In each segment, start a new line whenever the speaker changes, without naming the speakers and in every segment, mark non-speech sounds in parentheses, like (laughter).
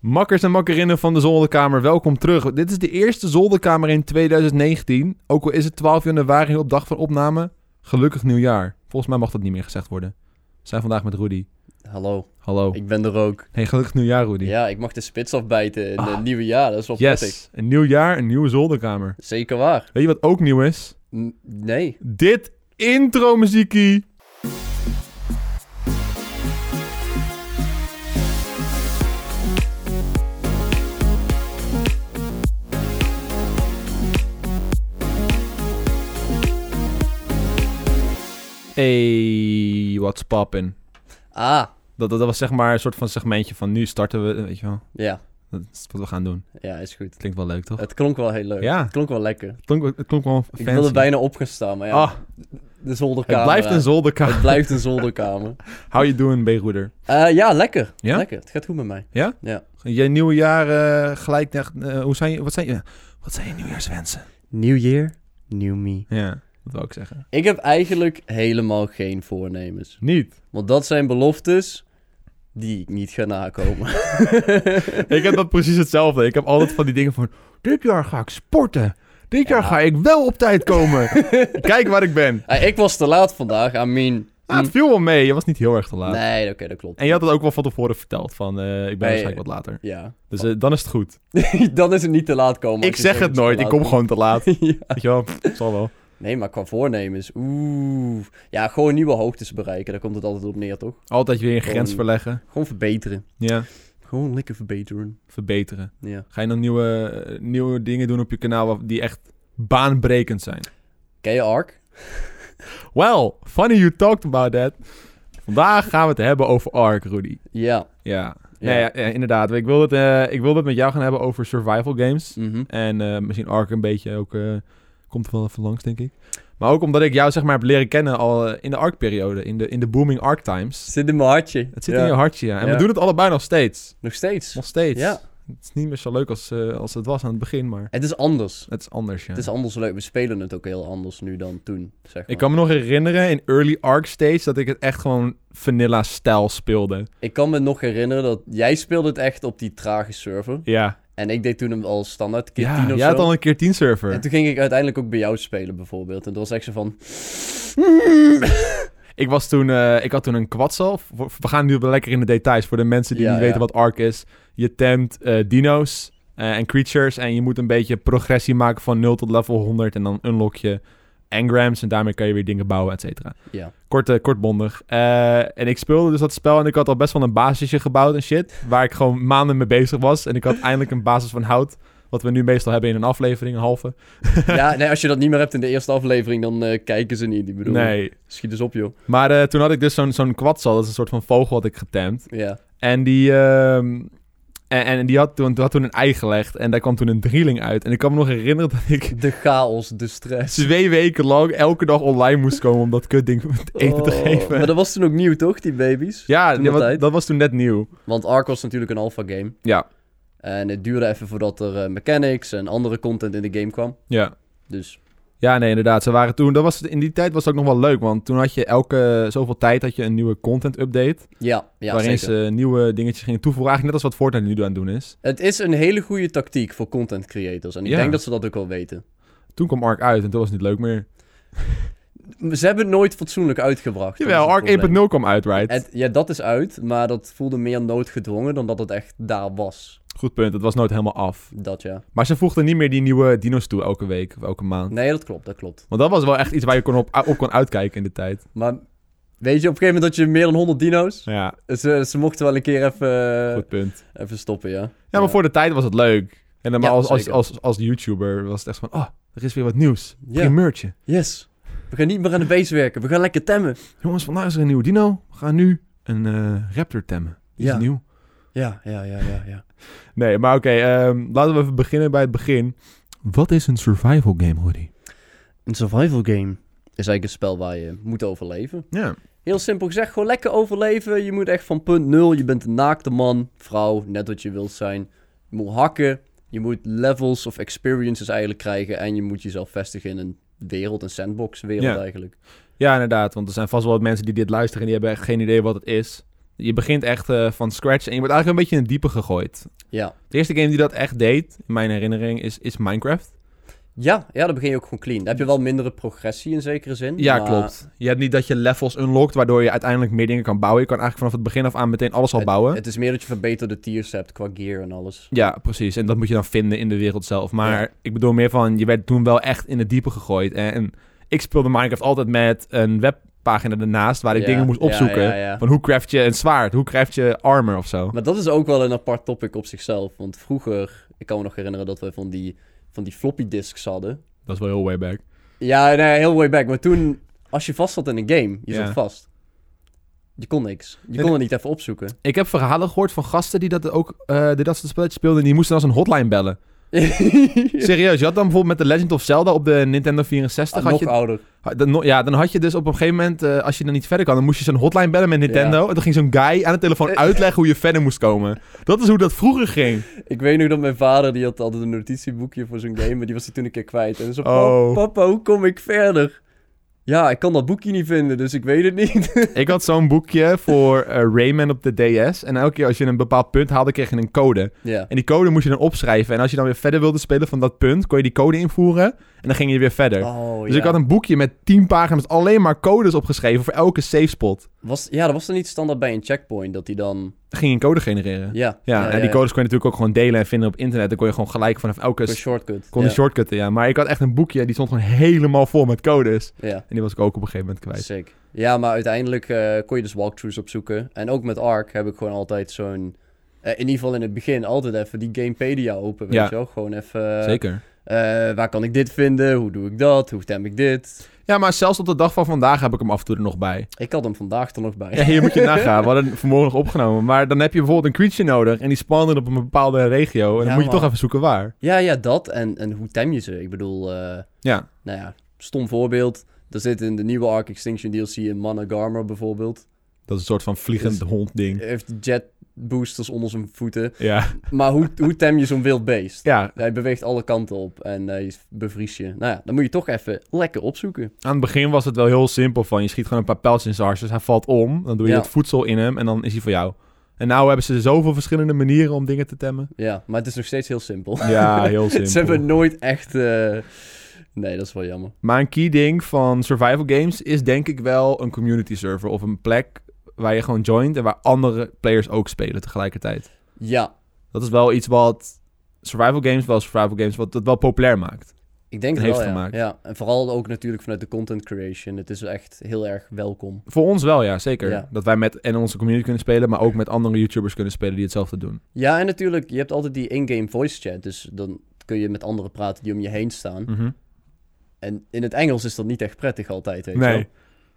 Makkers en makkerinnen van de zolderkamer, welkom terug. Dit is de eerste zolderkamer in 2019. Ook al is het 12 januari op dag van opname. Gelukkig nieuwjaar. Volgens mij mag dat niet meer gezegd worden. We zijn vandaag met Rudy.
Hallo,
Hallo.
ik ben er ook.
Hey, gelukkig nieuwjaar, Rudy.
Ja, ik mag de spits afbijten in
Ah.
het nieuwe jaar. Dat is wel prettig.
yes, een nieuw jaar, een nieuwe zolderkamer.
Zeker waar.
Weet je wat ook nieuw is?
N- nee.
Dit intro muziekie. Hey, what's poppin'?
Ah,
Dat, dat, dat was zeg maar een soort van segmentje van nu starten we, weet je wel.
ja.
Dat is wat we gaan doen.
Ja, is goed.
Klinkt wel leuk, toch?
Het klonk wel heel leuk.
Oh. Ja.
Het klonk wel lekker.
Het klonk, het klonk wel fancy.
Ik wilde bijna op gaan staan, maar ja,
Ah,
de
het
zolderkamer.
blijft een
hè.
zolderkamer.
Het blijft een
(laughs)
zolderkamer.
How you doing, B-Roeder?
Eh, ja, lekker.
Ja?
Lekker. Het gaat goed met mij.
Je nieuwe jaar eh, gelijk echt. eh, hoe zijn je, wat, zijn je, wat zijn je nieuwjaarswensen?
New year, new me.
Ja, dat wil ik zeggen.
Ik heb eigenlijk helemaal geen voornemens.
Niet.
Want dat zijn beloftes die ik niet ga nakomen.
(laughs) Ik
(laughs)
heb dat (laughs) precies hetzelfde. Ik heb altijd van die dingen van. Dit jaar ga ik sporten. Dit jaar
Ja.
ga ik wel op tijd komen. (laughs) Kijk waar ik ben.
Eh, ik was te laat vandaag, I mean...
Ah, het viel wel mee. Je was niet heel erg te laat.
Nee, oké, dat klopt.
En je had het ook wel van tevoren verteld. Van eh, ik ben
Nee.
waarschijnlijk wat later.
Ja. (laughs)
Dus eh, dan is het goed.
dan is het niet te laat komen.
ik
als je
zeg
zegt
het
is te
nooit. Ik
laat
kom
komen.
gewoon te (laughs) laat.
Ja.
Weet je wel, pff, zal wel.
Nee, maar qua voornemens, oeh. Ja, gewoon nieuwe hoogtes bereiken, daar komt het altijd op neer, toch?
Altijd weer een grens
Gewoon-
verleggen.
Gewoon verbeteren.
Ja.
Gewoon lekker verbeteren.
Verbeteren.
Ja.
Ga je dan nieuwe, eh, nieuwe dingen doen op je kanaal wat- die echt baanbrekend zijn?
Ken je Ark?
Well, funny you talked about that. Vandaag gaan we het hebben over ARK, Rudy.
Ja.
Ja,
Ja.
Nee, ja, ja, inderdaad. Ik wil, het, eh, ik wil het met jou gaan hebben over survival games.
Mhm.
En eh, misschien ARK een beetje ook... eh, komt er wel even langs, denk ik. Maar ook omdat ik jou zeg maar heb leren kennen al eh, in de ARK-periode. In de, in de booming ARK times.
Zit in mijn hartje.
Het zit
Ja.
in je hartje, ja. En we
Ja.
doen het allebei nog steeds.
Nog steeds.
Nog steeds.
Ja.
Het is niet meer zo leuk als, eh, als het was aan het begin, maar
Het is anders.
het is anders, ja.
Het is anders leuk. We spelen het ook heel anders nu dan toen, zeg maar.
Ik kan me nog herinneren in early arc stage dat ik het echt gewoon vanilla stijl speelde.
ik kan me nog herinneren dat jij speelde het echt op die trage server.
Ja.
En ik deed toen hem al standaard, keer
ja
10 of
jij had
zo.
al een keer 10 server.
En toen ging ik uiteindelijk ook bij jou spelen, bijvoorbeeld. En toen was echt zo van...
Ik was toen, eh, ik had toen een quadzal. Voor- We gaan nu wel lekker in de details voor de mensen die
Ja,
niet
ja.
weten wat arc is. Je temt eh, dino's eh, en creatures en je moet een beetje progressie maken van 0 tot level 100 en dan unlock je engrams en daarmee kan je weer dingen bouwen, et cetera.
Ja.
Kort, eh, kortbondig. Eh, en ik speelde dus dat spel en ik had al best wel een basisje gebouwd en shit. Waar ik gewoon maanden mee bezig was. En ik
(laughs)
had eindelijk een basis van hout. Wat we nu meestal hebben in een aflevering, een halve.
(laughs) ja, nee, als je dat niet meer hebt in de eerste aflevering, dan eh, kijken ze niet. Die bedoel,
Nee.
Schiet eens op, joh.
Maar eh, toen had ik dus zo'n zo'n kwadzal. Dat is een soort van vogel had ik getemd.
Ja.
En die, ehm, en, en die had, toen, had toen een ei gelegd. En daar kwam toen een drieling uit. En ik kan me nog herinneren dat
(laughs)
ik
De chaos, de stress.
twee weken lang elke dag online moest komen om dat kutding (laughs) eten te
Oh,
geven.
Maar dat was toen ook nieuw, toch, die baby's?
ja,
toen
dat,
dat
wa-
uit.
dat was toen net nieuw.
Want Ark was natuurlijk een alpha game.
Ja,
En het duurde even voordat er eh, mechanics en andere content in de game kwam.
ja.
Dus
Ja, nee, inderdaad. Ze waren toen, dat was, in die tijd was het ook nog wel leuk, want toen had je elke zoveel tijd had je een nieuwe content update.
ja, ja
waarin
zeker.
ze nieuwe dingetjes gingen toevoegen. Eigenlijk net als wat Fortnite nu aan het doen is.
Het is een hele goede tactiek voor content creators. En ik
Ja.
denk dat ze dat ook wel weten.
Toen kwam Ark uit en toen was het niet leuk meer.
Ze hebben het nooit fatsoenlijk uitgebracht. Dat is
Jawel,
het
Ark 1.0
probleem.
kwam uit, right?
Het- ja, dat is uit, maar dat voelde meer noodgedwongen dan dat het echt daar was.
Goed punt, het was nooit helemaal af.
Dat ja.
Maar ze voegden niet meer die nieuwe dino's toe elke week of elke maand.
Nee, dat klopt, dat klopt.
Want dat was wel echt iets waar je kon op, op kon uitkijken in de tijd.
Maar weet je, op een gegeven moment had je meer dan 100 dino's.
Ja,
Ze, ze mochten wel een keer even,
goed punt.
even stoppen, ja.
Ja, maar voor de tijd was het leuk. En dan maar
Ja,
als, als,
zeker.
als, als YouTuber was het echt van, oh, er is weer wat nieuws.
Ja.
Primeurtje.
Yes. We gaan niet meer aan de base werken. We gaan lekker temmen.
Jongens, vandaag is er een nieuwe dino. We gaan nu een eh, raptor temmen. Die
Ja.
is nieuw.
Ja, ja, ja, ja, ja.
Nee, maar oké. ehm, laten we even beginnen bij het begin. Wat is een survival game, Rudy?
Een survival game is eigenlijk een spel waar je moet overleven.
Ja.
Heel simpel gezegd, gewoon lekker overleven. Je moet echt van punt nul. Je bent een naakte man, vrouw, net wat je wilt zijn. Je moet hakken. Je moet levels of experiences eigenlijk krijgen. En je moet jezelf vestigen in een wereld, een sandbox wereld
Ja.
eigenlijk.
Ja, inderdaad. Want er zijn vast wel wat mensen die dit luisteren en die hebben echt geen idee wat het is. Je begint echt eh, van scratch en je wordt eigenlijk een beetje in het diepe gegooid.
Ja.
De eerste game die dat echt deed, in mijn herinnering, is, is Minecraft.
Ja, ja, dan begin je ook gewoon clean. Dan heb je wel mindere progressie in zekere zin.
Ja,
maar
klopt. Je hebt niet dat je levels unlockt, waardoor je uiteindelijk meer dingen kan bouwen. Je kan eigenlijk vanaf het begin af aan meteen alles al bouwen.
Het is meer dat je verbeterde tiers hebt qua gear en alles.
Ja, precies. En dat moet je dan vinden in de wereld zelf. Maar ik bedoel meer van, je werd toen wel echt in het diepe gegooid. En ik speelde Minecraft altijd met een webpagina ernaast, waar ik
Ja,
dingen moest
ja,
opzoeken.
ja, ja.
Van hoe craft je een zwaard? Hoe craft je armor of zo?
Maar dat is ook wel een apart topic op zichzelf. Want vroeger, ik kan me nog herinneren dat we van die, van die floppy disks hadden.
Dat is wel heel way back.
Ja, nee, heel way back. Maar toen, als je vast zat in een game, je
Ja.
zat vast. Je kon niks. Je kon
nee.
het niet even
(laughs)
opzoeken.
Ik heb verhalen gehoord van gasten die dat ook, eh, die dat soort spelletjes speelden. En die moesten als een hotline bellen. (laughs) Serieus, je had dan bijvoorbeeld met The Legend of Zelda op de Nintendo 64.
Ah,
had
nog
je,
ouder.
ha- dan, no- ja, dan had je dus op een gegeven moment, eh, als je dan niet verder kan, dan moest je zo'n hotline bellen met Nintendo. En dan ging zo'n guy aan de
Eh,
telefoon uitleggen hoe je verder moest komen. Dat is hoe dat vroeger
(laughs)
ging.
Ik weet nog dat mijn vader, die had altijd een notitieboekje voor zo'n game, maar die was hij toen een keer kwijt. En zo,
Oh.
papa, hoe kom ik verder? Ja, ik kan dat boekje niet vinden, dus ik weet het
(laughs)
niet.
Ik had zo'n boekje voor eh, Rayman op de DS. En elke keer als je een bepaald punt haalde, kreeg je een code.
ja.
En die code moest je dan opschrijven. En als je dan weer verder wilde spelen van dat punt, kon je die code invoeren. En dan ging je weer verder.
Oh,
Dus ik had een boekje met 10 pagina's met alleen maar codes opgeschreven voor elke safe spot.
was, ja, dat was er niet standaard bij een checkpoint, dat hij dan...
Dan ging je een code genereren. Ja,
Ja,
en die codes kon je natuurlijk ook gewoon delen en vinden op internet. Dan kon je gewoon gelijk vanaf elke
Een
s-
shortcut.
kon
ja.
je shortcutten, ja. Maar ik had echt een boekje, die stond gewoon helemaal vol met codes.
Ja,
En die was ik ook op een gegeven moment kwijt.
sick. Ja, maar uiteindelijk eh, kon je dus walkthroughs opzoeken. En ook met Ark heb ik gewoon altijd zo'n... eh, in ieder geval in het begin altijd even die Gamepedia open, weet
Ja.
je wel? Gewoon even...
Zeker.
eh, waar kan ik dit vinden? Hoe doe ik dat? Hoe stem ik dit?
Ja, maar zelfs op de dag van vandaag heb ik hem af en toe er nog bij.
Ik had hem vandaag er nog bij.
Ja, hier moet je nagaan. We
(laughs)
hadden het vanmorgen nog opgenomen. Maar dan heb je bijvoorbeeld een creature nodig. En die spawnen op een bepaalde regio. En dan
Ja,
moet je
man.
toch even zoeken waar.
(laughs) Ja, ja, dat. En, en hoe tem je ze? Ik bedoel, eh,
Ja.
nou ja, stom voorbeeld. Er zit in de nieuwe Ark Extinction DLC een Managarma bijvoorbeeld.
Dat is een soort van vliegend
Dus-
hond ding.
Hij heeft jet boosters onder zijn voeten.
Ja.
Maar hoe, (laughs) hoe tem je zo'n wild beest?
ja,
Hij beweegt alle kanten op en hij bevries je. Nou ja, dan moet je toch even lekker opzoeken.
Aan het begin was het wel heel simpel van je schiet gewoon een paar pijltjes in zijn hart, dus hij valt om, dan doe je
Ja.
het voedsel in hem en dan is hij voor jou. En nou hebben ze zoveel verschillende manieren om dingen te temmen.
Ja, maar het is nog steeds heel simpel. (laughs)
Ja, heel simpel.
Ze hebben nooit echt... eh, Nee, dat is wel jammer.
Maar een key ding van survival games is denk ik wel een community server of een plek waar je gewoon joint en waar andere players ook spelen tegelijkertijd.
Ja,
Dat is wel iets wat survival games, wel survival games, wat het wel populair maakt.
ik denk het
Heeft
wel, ja.
gemaakt.
ja. En vooral ook natuurlijk vanuit de content creation. Het is echt heel erg welkom.
Voor ons wel, ja, zeker.
Ja.
Dat wij met en onze community kunnen spelen, maar ook met andere YouTubers kunnen spelen die hetzelfde doen.
Ja, en natuurlijk, je hebt altijd die in-game voice chat. Dus dan kun je met anderen praten die om je heen staan.
Mhm.
En in het Engels is dat niet echt prettig altijd, weet je
Nee.
wel.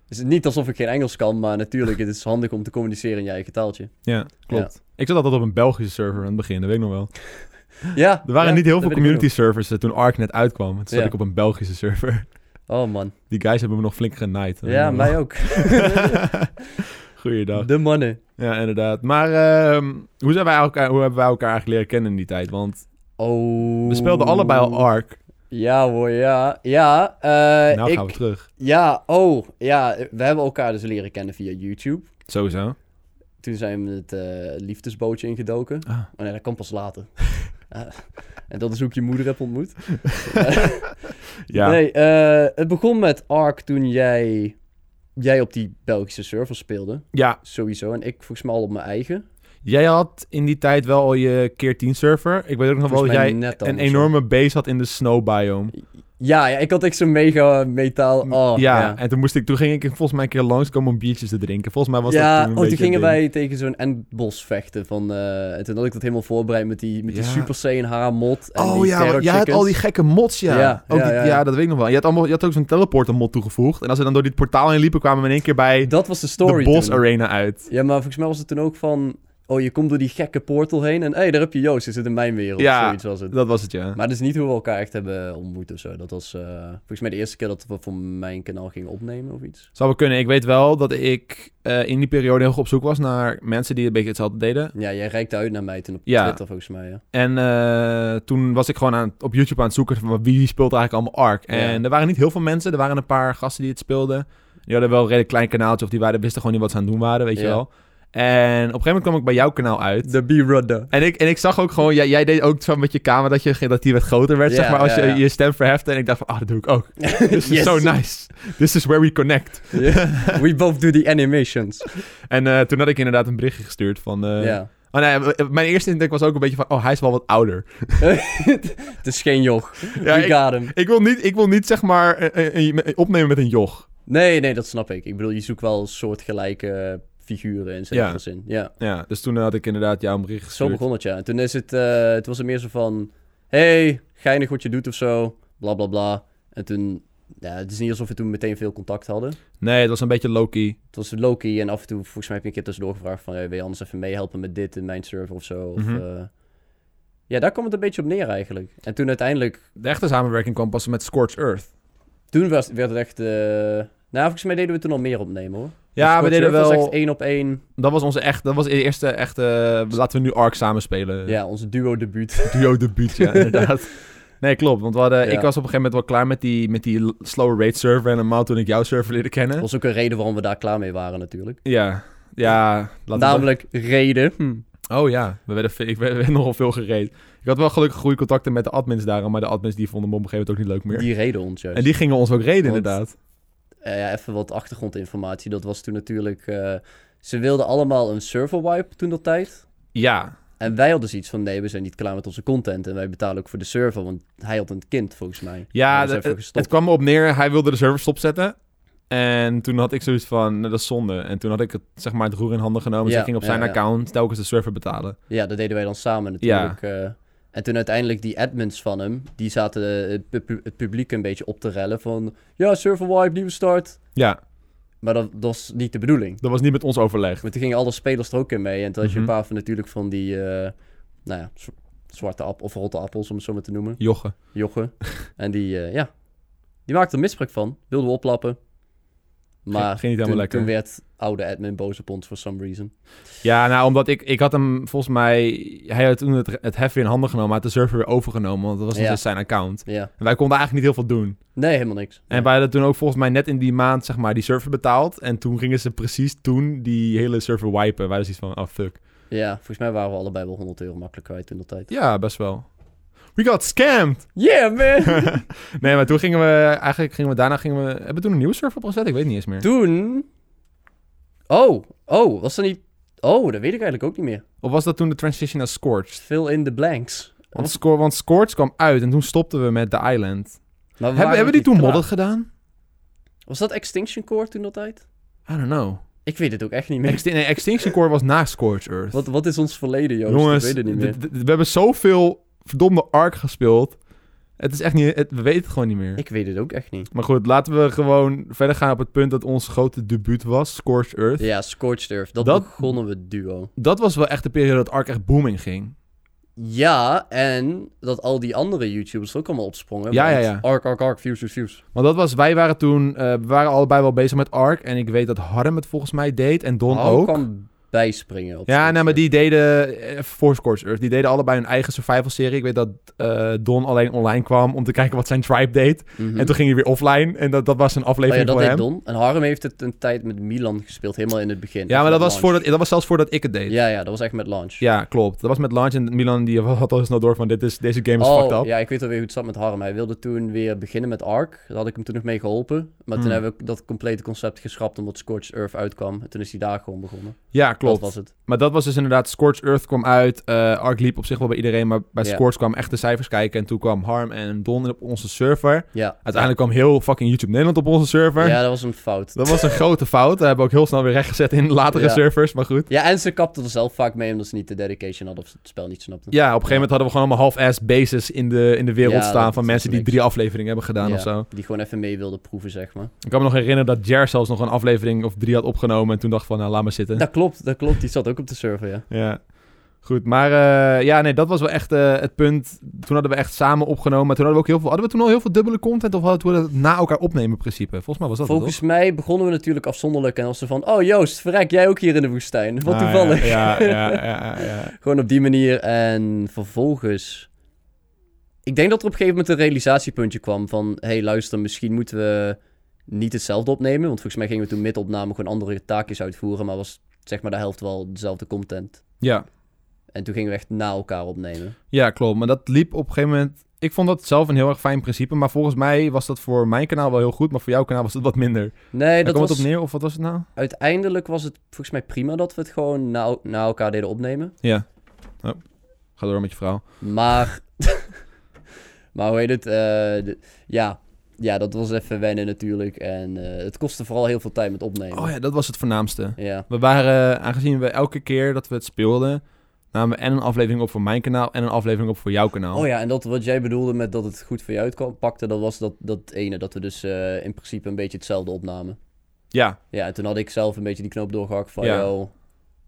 Dus niet alsof ik geen Engels kan, maar natuurlijk, het is handig om te communiceren in je eigen taaltje.
Ja, klopt. Ik zat altijd op een Belgische server aan het begin, dat weet ik nog wel.
Ja,
Er waren
ja,
niet heel veel
dat weet ik ook
community servers eh, toen Ark net uitkwam. Toen zat
Ja.
ik op een Belgische server. (laughs)
nog. Oh man,
Die guys hebben me nog flink genaaid.
ja, mij ook.
(laughs) Goeiedag.
(laughs) De mannen.
Ja, inderdaad. Maar ehm, hoe, zijn wij elkaar, hoe hebben wij elkaar eigenlijk leren kennen in die tijd? Want
Oh.
we speelden allebei al Ark.
Ja hoor, ja. Ja, eh,
nou
ik...
gaan we terug.
Ja, oh, ja. We hebben elkaar dus leren kennen via YouTube.
Sowieso.
Toen zijn we het eh, liefdesbootje ingedoken.
Ah.
Oh nee, dat kan pas later. (laughs) Ja. en dat is hoe ik je moeder heb ontmoet.
Ja.
Nee, eh, het begon met Ark toen jij, jij op die Belgische server speelde.
ja,
Sowieso. En ik volgens mij al op mijn eigen.
jij had in die tijd wel al je keer 10 server. Ik weet ook nog wel dat
Volgens mij
jij
net al
een
of zo.
enorme base had in de snow biome.
Ja, ja, ik had echt zo'n mega metaal. Oh,
ja,
ja.
en toen, moest ik, toen ging ik volgens mij een keer langskomen om biertjes te drinken. Volgens mij was dat
ja,
toen een
oh, toen
beetje
gingen
het ding.
wij tegen zo'n endbos vechten. Van, eh, en toen had ik dat helemaal voorbereid met die, met die
Ja.
Super Saiyan mod en
oh
die
ja,
Terror
want jij had
Chickens.
al die gekke mods, ja.
Ja,
ook
ja,
die-
ja, ja.
dat weet ik nog wel. Je had, allemaal, je had ook zo'n teleporter mod toegevoegd. En als we dan door dit portaal heen liepen, kwamen we in één keer bij
Dat was de story
de Boss
toen.
Arena uit.
Ja, maar volgens mij was het toen ook van... Oh, je komt door die gekke portal heen en... Hé, hey, daar heb je Joost, je zit in mijn wereld.
Ja.
Zoiets was het.
Dat was het, ja.
Maar dat is niet hoe we elkaar echt hebben ontmoet of zo. Dat was eh, volgens mij de eerste keer dat we voor mijn kanaal gingen opnemen of iets.
Zou wel kunnen. Ik weet wel dat ik eh, in die periode heel goed op zoek was naar mensen die een beetje hetzelfde deden.
Ja, jij reikte uit naar mij toen op
Ja.
Twitter volgens mij. Ja.
En eh, toen was ik gewoon aan, op YouTube aan het zoeken van wie speelt eigenlijk allemaal Ark. En
Ja.
er waren niet heel veel mensen. Er waren een paar gasten die het speelden. Die hadden wel een redelijk klein kanaaltje of die waren, wisten gewoon niet wat ze aan het doen waren, weet je
Ja.
wel. En op een gegeven moment kwam ik bij jouw kanaal uit.
De (laughs) B-Rudder.
En ik, en ik zag ook gewoon, jij, jij deed ook zo met je camera dat, je, dat die wat groter werd,
Ja,
zeg maar, als
ja,
je
ja.
je stem verhefte. En ik dacht van, ah, dat doe ik
(laughs)
ook. This is
Yes. (laughs)
so nice. This is where we connect.
Yeah. We both do the animations.
En eh, toen had ik inderdaad een berichtje gestuurd van... eh,
Ja.
Oh nee, m- mijn eerste indruk was ook een beetje van, oh, hij is wel wat
(laughs)
ouder.
Het is geen joch.
Ja,
We
ik,
got him.
ik wil niet, ik wil niet zeg maar, eh, eh, eh, opnemen met een joch.
Nee, nee, dat snap ik. Ik bedoel, je zoekt wel soortgelijke figuren in zekere
Ja.
zin. Ja.
Ja, dus toen had ik inderdaad jou een bericht
Zo
gestuurd.
begon het, ja. En toen is het, eh, toen was het meer zo van... Hey, geinig wat je doet of zo. Bla, bla, bla. En toen... Ja, het is niet alsof we toen meteen veel contact hadden.
Nee, het was een beetje low-key.
Het was Loki en af en toe... Volgens mij heb ik een keer tussendoor gevraagd van... Hey, wil je anders even meehelpen met dit in mijn server of zo? Of,
Mhm.
eh, ja, daar kwam het een beetje op neer eigenlijk. En toen uiteindelijk...
De echte samenwerking kwam pas met Scorched Earth.
Toen was, werd het echt... eh, Nou, volgens mij deden we toen al meer opnemen, hoor.
Ja,
Dus
we deden
Scorch Earth was
wel...
echt één op één.
Dat was onze echt, dat was de eerste echte, eh, laten we nu Ark samen spelen.
Ja,
(laughs)
onze duo-debuut.
Duo debuut,
(laughs)
ja, inderdaad. Nee, klopt. Want we hadden, ik
Ja.
was op een gegeven moment wel klaar met die, met die l- slower rate server. En normaal toen ik jouw server leerde kennen.
Dat was ook een reden waarom we daar klaar mee waren, natuurlijk.
Ja, ja. laten we-
Namelijk reden. Hm.
Oh ja, we werden, ve- ik werd, werd nogal veel gereed. Ik had wel gelukkig goede contacten met de admins daarom. Maar de admins die vonden me op een gegeven moment ook niet leuk meer.
Die reden ons juist.
En die gingen ons ook reden,
Want-
inderdaad.
Eh, ja, even wat achtergrondinformatie. Dat was toen natuurlijk... eh, ze wilden allemaal een server wipe toen dat tijd.
Ja,
En wij hadden zoiets van... Nee, we zijn niet klaar met onze content. En wij betalen ook voor de server. Want hij had een kind, volgens mij.
ja
Daar zijn
het,
we voor
het,
gestopt.
kwam me op neer. Hij wilde de server stopzetten. En toen had ik zoiets van, nou, dat is zonde. En toen had ik het, zeg maar, het roer in handen genomen. Dus
Ja,
ik ging op
ja,
zijn
ja.
account telkens de server betalen.
Ja, dat deden wij dan samen natuurlijk. eh. en toen uiteindelijk die admins van hem... Die zaten eh, het, pub- het publiek een beetje op te rellen van... Ja, server wipe, nieuwe start.
Ja,
Maar dat, dat was niet de bedoeling.
dat was niet met ons overleg.
Maar toen gingen alle spelers er ook in mee. En toen had je
Mhm.
een paar van natuurlijk van die, eh, nou ja, z- zwarte appel of rotte appels, om het zo maar te noemen.
Jochen.
Jochen. (laughs) en die, eh, ja, die maakte er misbruik van. Wilden we oplappen. Maar
Ging- ging niet helemaal
toen,
lekker.
toen werd oude admin boos op ons for some reason.
Ja, nou, omdat ik, ik had hem volgens mij... Hij had toen het, het hef weer in handen genomen, maar had de server weer overgenomen. Want dat was nog
Ja.
eens zijn account.
Ja.
En wij konden eigenlijk niet heel veel doen.
Nee, helemaal niks.
En wij hadden toen ook volgens mij net in die maand, zeg maar, die server betaald. En toen gingen ze precies toen die hele server wipen. Wij hadden zoiets van, oh fuck.
Ja, volgens mij waren we allebei wel 100 euro makkelijk kwijt in de tijd.
Ja, best wel. We got scammed! (laughs)
Yeah, man! (laughs)
nee, maar toen gingen we... Eigenlijk gingen we daarna... Gingen we, hebben we toen een nieuwe server opgezet? Ik weet niet eens meer.
toen... Oh, oh, was dat niet... Oh, dat weet ik eigenlijk ook niet meer.
Of was dat toen de transition naar Scorched?
Fill in the blanks.
Want, Scor want Scorched kwam uit en toen stopten we met The Island.
Maar we waren
Hebben, hebben
nog
die
niet
toen
klaar.
modded gedaan?
Was dat Extinction Core toen dat tijd?
I don't know.
Ik weet het ook echt niet meer.
Extin- nee, Extinction Core was na Scorched Earth.
Wat, wat is ons verleden, Joost?
Jongens,
ik weet het niet meer.
d- d- d- we hebben zoveel verdomde Ark gespeeld. Het is echt niet... het- we weten het gewoon niet meer.
Ik weet het ook echt niet.
Maar goed, laten we gewoon verder gaan op het punt dat ons grote debuut was, Scorched Earth.
(laughs) Ja, Scorched Earth. Dat,
Dat-
begonnen we duo.
Dat was wel echt de periode dat Ark echt booming ging.
Ja, en dat al die andere YouTubers er ook allemaal opsprongen.
Ja,
want
ja, ja.
Ark, ark, ark, views, views, views.
Want dat was, wij waren toen, eh, we waren allebei wel bezig met Ark. En ik weet dat Harm het volgens mij deed en Don
Hou
ook.
Oh, kan bijspringen. Op
Ja,
Scorched
nee, maar
Earth.
die deden, eh, voor Scorched Earth, die deden allebei hun eigen survival-serie. Ik weet dat eh, Don alleen online kwam om te kijken wat zijn tribe deed.
Mhm.
En toen ging hij weer offline en dat, dat was een
Oh ja,
aflevering
dat
voor
deed
hem.
Don. En Harm heeft het een tijd met Milan gespeeld, helemaal in het begin.
Ja, maar dat
Met
was,
launch.
voordat, dat was zelfs voordat ik het deed.
Ja, ja, dat was echt met launch.
Ja, klopt. Dat was met Launch en Milan die (laughs) had al snel door van dit is, deze game is
oh,
fucked up.
ja, ik weet alweer hoe het zat met Harm. Hij wilde toen weer beginnen met Ark. Daar had ik hem toen nog mee geholpen. Maar
Hmm.
toen hebben we dat complete concept geschrapt omdat Scorched Earth uitkwam. En toen is hij daar gewoon begonnen.
Ja, klopt.
Dat was het.
Maar dat was dus inderdaad, Scorched Earth kwam uit. eh Ark liep op zich wel bij iedereen, maar bij
Ja.
Scorched kwamen echt de cijfers kijken. En toen kwam Harm en Don op onze server.
Ja.
Uiteindelijk kwam heel fucking YouTube Nederland op onze server.
Ja, dat was een fout.
Dat was een grote fout. Dat hebben we ook heel snel weer rechtgezet in latere
Ja.
servers, maar goed.
Ja, en ze kapten er zelf vaak mee omdat ze niet de dedication hadden of ze het spel niet snapten.
Ja, op een gegeven moment hadden we gewoon allemaal half-ass bases in de, in de wereld
Ja,
staan
dat-
van
dat
mensen
is
die
niks.
drie afleveringen hebben gedaan
Ja,
of zo.
Die gewoon even mee wilden proeven, zeg maar.
Ik kan me nog herinneren dat Jer zelfs nog een aflevering of drie had opgenomen en toen dacht van, nou, laat maar zitten.
Dat klopt, dat klopt. Die zat ook op de server, ja.
Ja. Goed, maar eh, ja, nee, dat was wel echt eh, het punt. Toen hadden we echt samen opgenomen. Maar toen hadden we ook heel veel. Hadden we toen al heel veel dubbele content of hadden we het na elkaar opnemen principe? Volgens mij was dat het,
Volgens mij begonnen we natuurlijk afzonderlijk en als ze van... Oh Joost, verrek, jij ook hier in de woestijn. Wat
toch? Ah,
toevallig.
Ja, ja, ja, ja, ja.
(laughs) Gewoon op die manier. En vervolgens. Ik denk dat er op een gegeven moment een realisatiepuntje kwam van: hé, hey, luister, misschien moeten we niet hetzelfde opnemen. Want volgens mij gingen we toen midopname gewoon andere taakjes uitvoeren. Maar was zeg maar de helft wel dezelfde content.
Ja.
En toen gingen we echt na elkaar opnemen.
ja, klopt. Maar dat liep op een gegeven moment... Ik vond dat zelf een heel erg fijn principe. Maar volgens mij was dat voor mijn kanaal wel heel goed. Maar voor jouw kanaal was dat wat minder.
Nee,
Daar
dat
kwam
was,
het op neer? Of wat was het nou?
uiteindelijk was het volgens mij prima dat we het gewoon na, na elkaar deden opnemen.
Ja. Oh. Ga door met je verhaal.
Maar, (laughs) maar hoe heet het? eh, de- ja. ja, dat was even wennen natuurlijk. En eh, het kostte vooral heel veel tijd met opnemen.
Oh ja, dat was het voornaamste.
ja.
We waren, eh, aangezien we elke keer dat we het speelden... namen we en een aflevering op voor mijn kanaal... en een aflevering op voor jouw kanaal.
Oh ja, en dat wat jij bedoelde met dat het goed voor je uitpakte, dat was dat, dat ene, dat we dus eh, in principe een beetje hetzelfde opnamen.
ja,
Ja, en toen had ik zelf een beetje die knoop doorgehakt van,
Ja.
joh,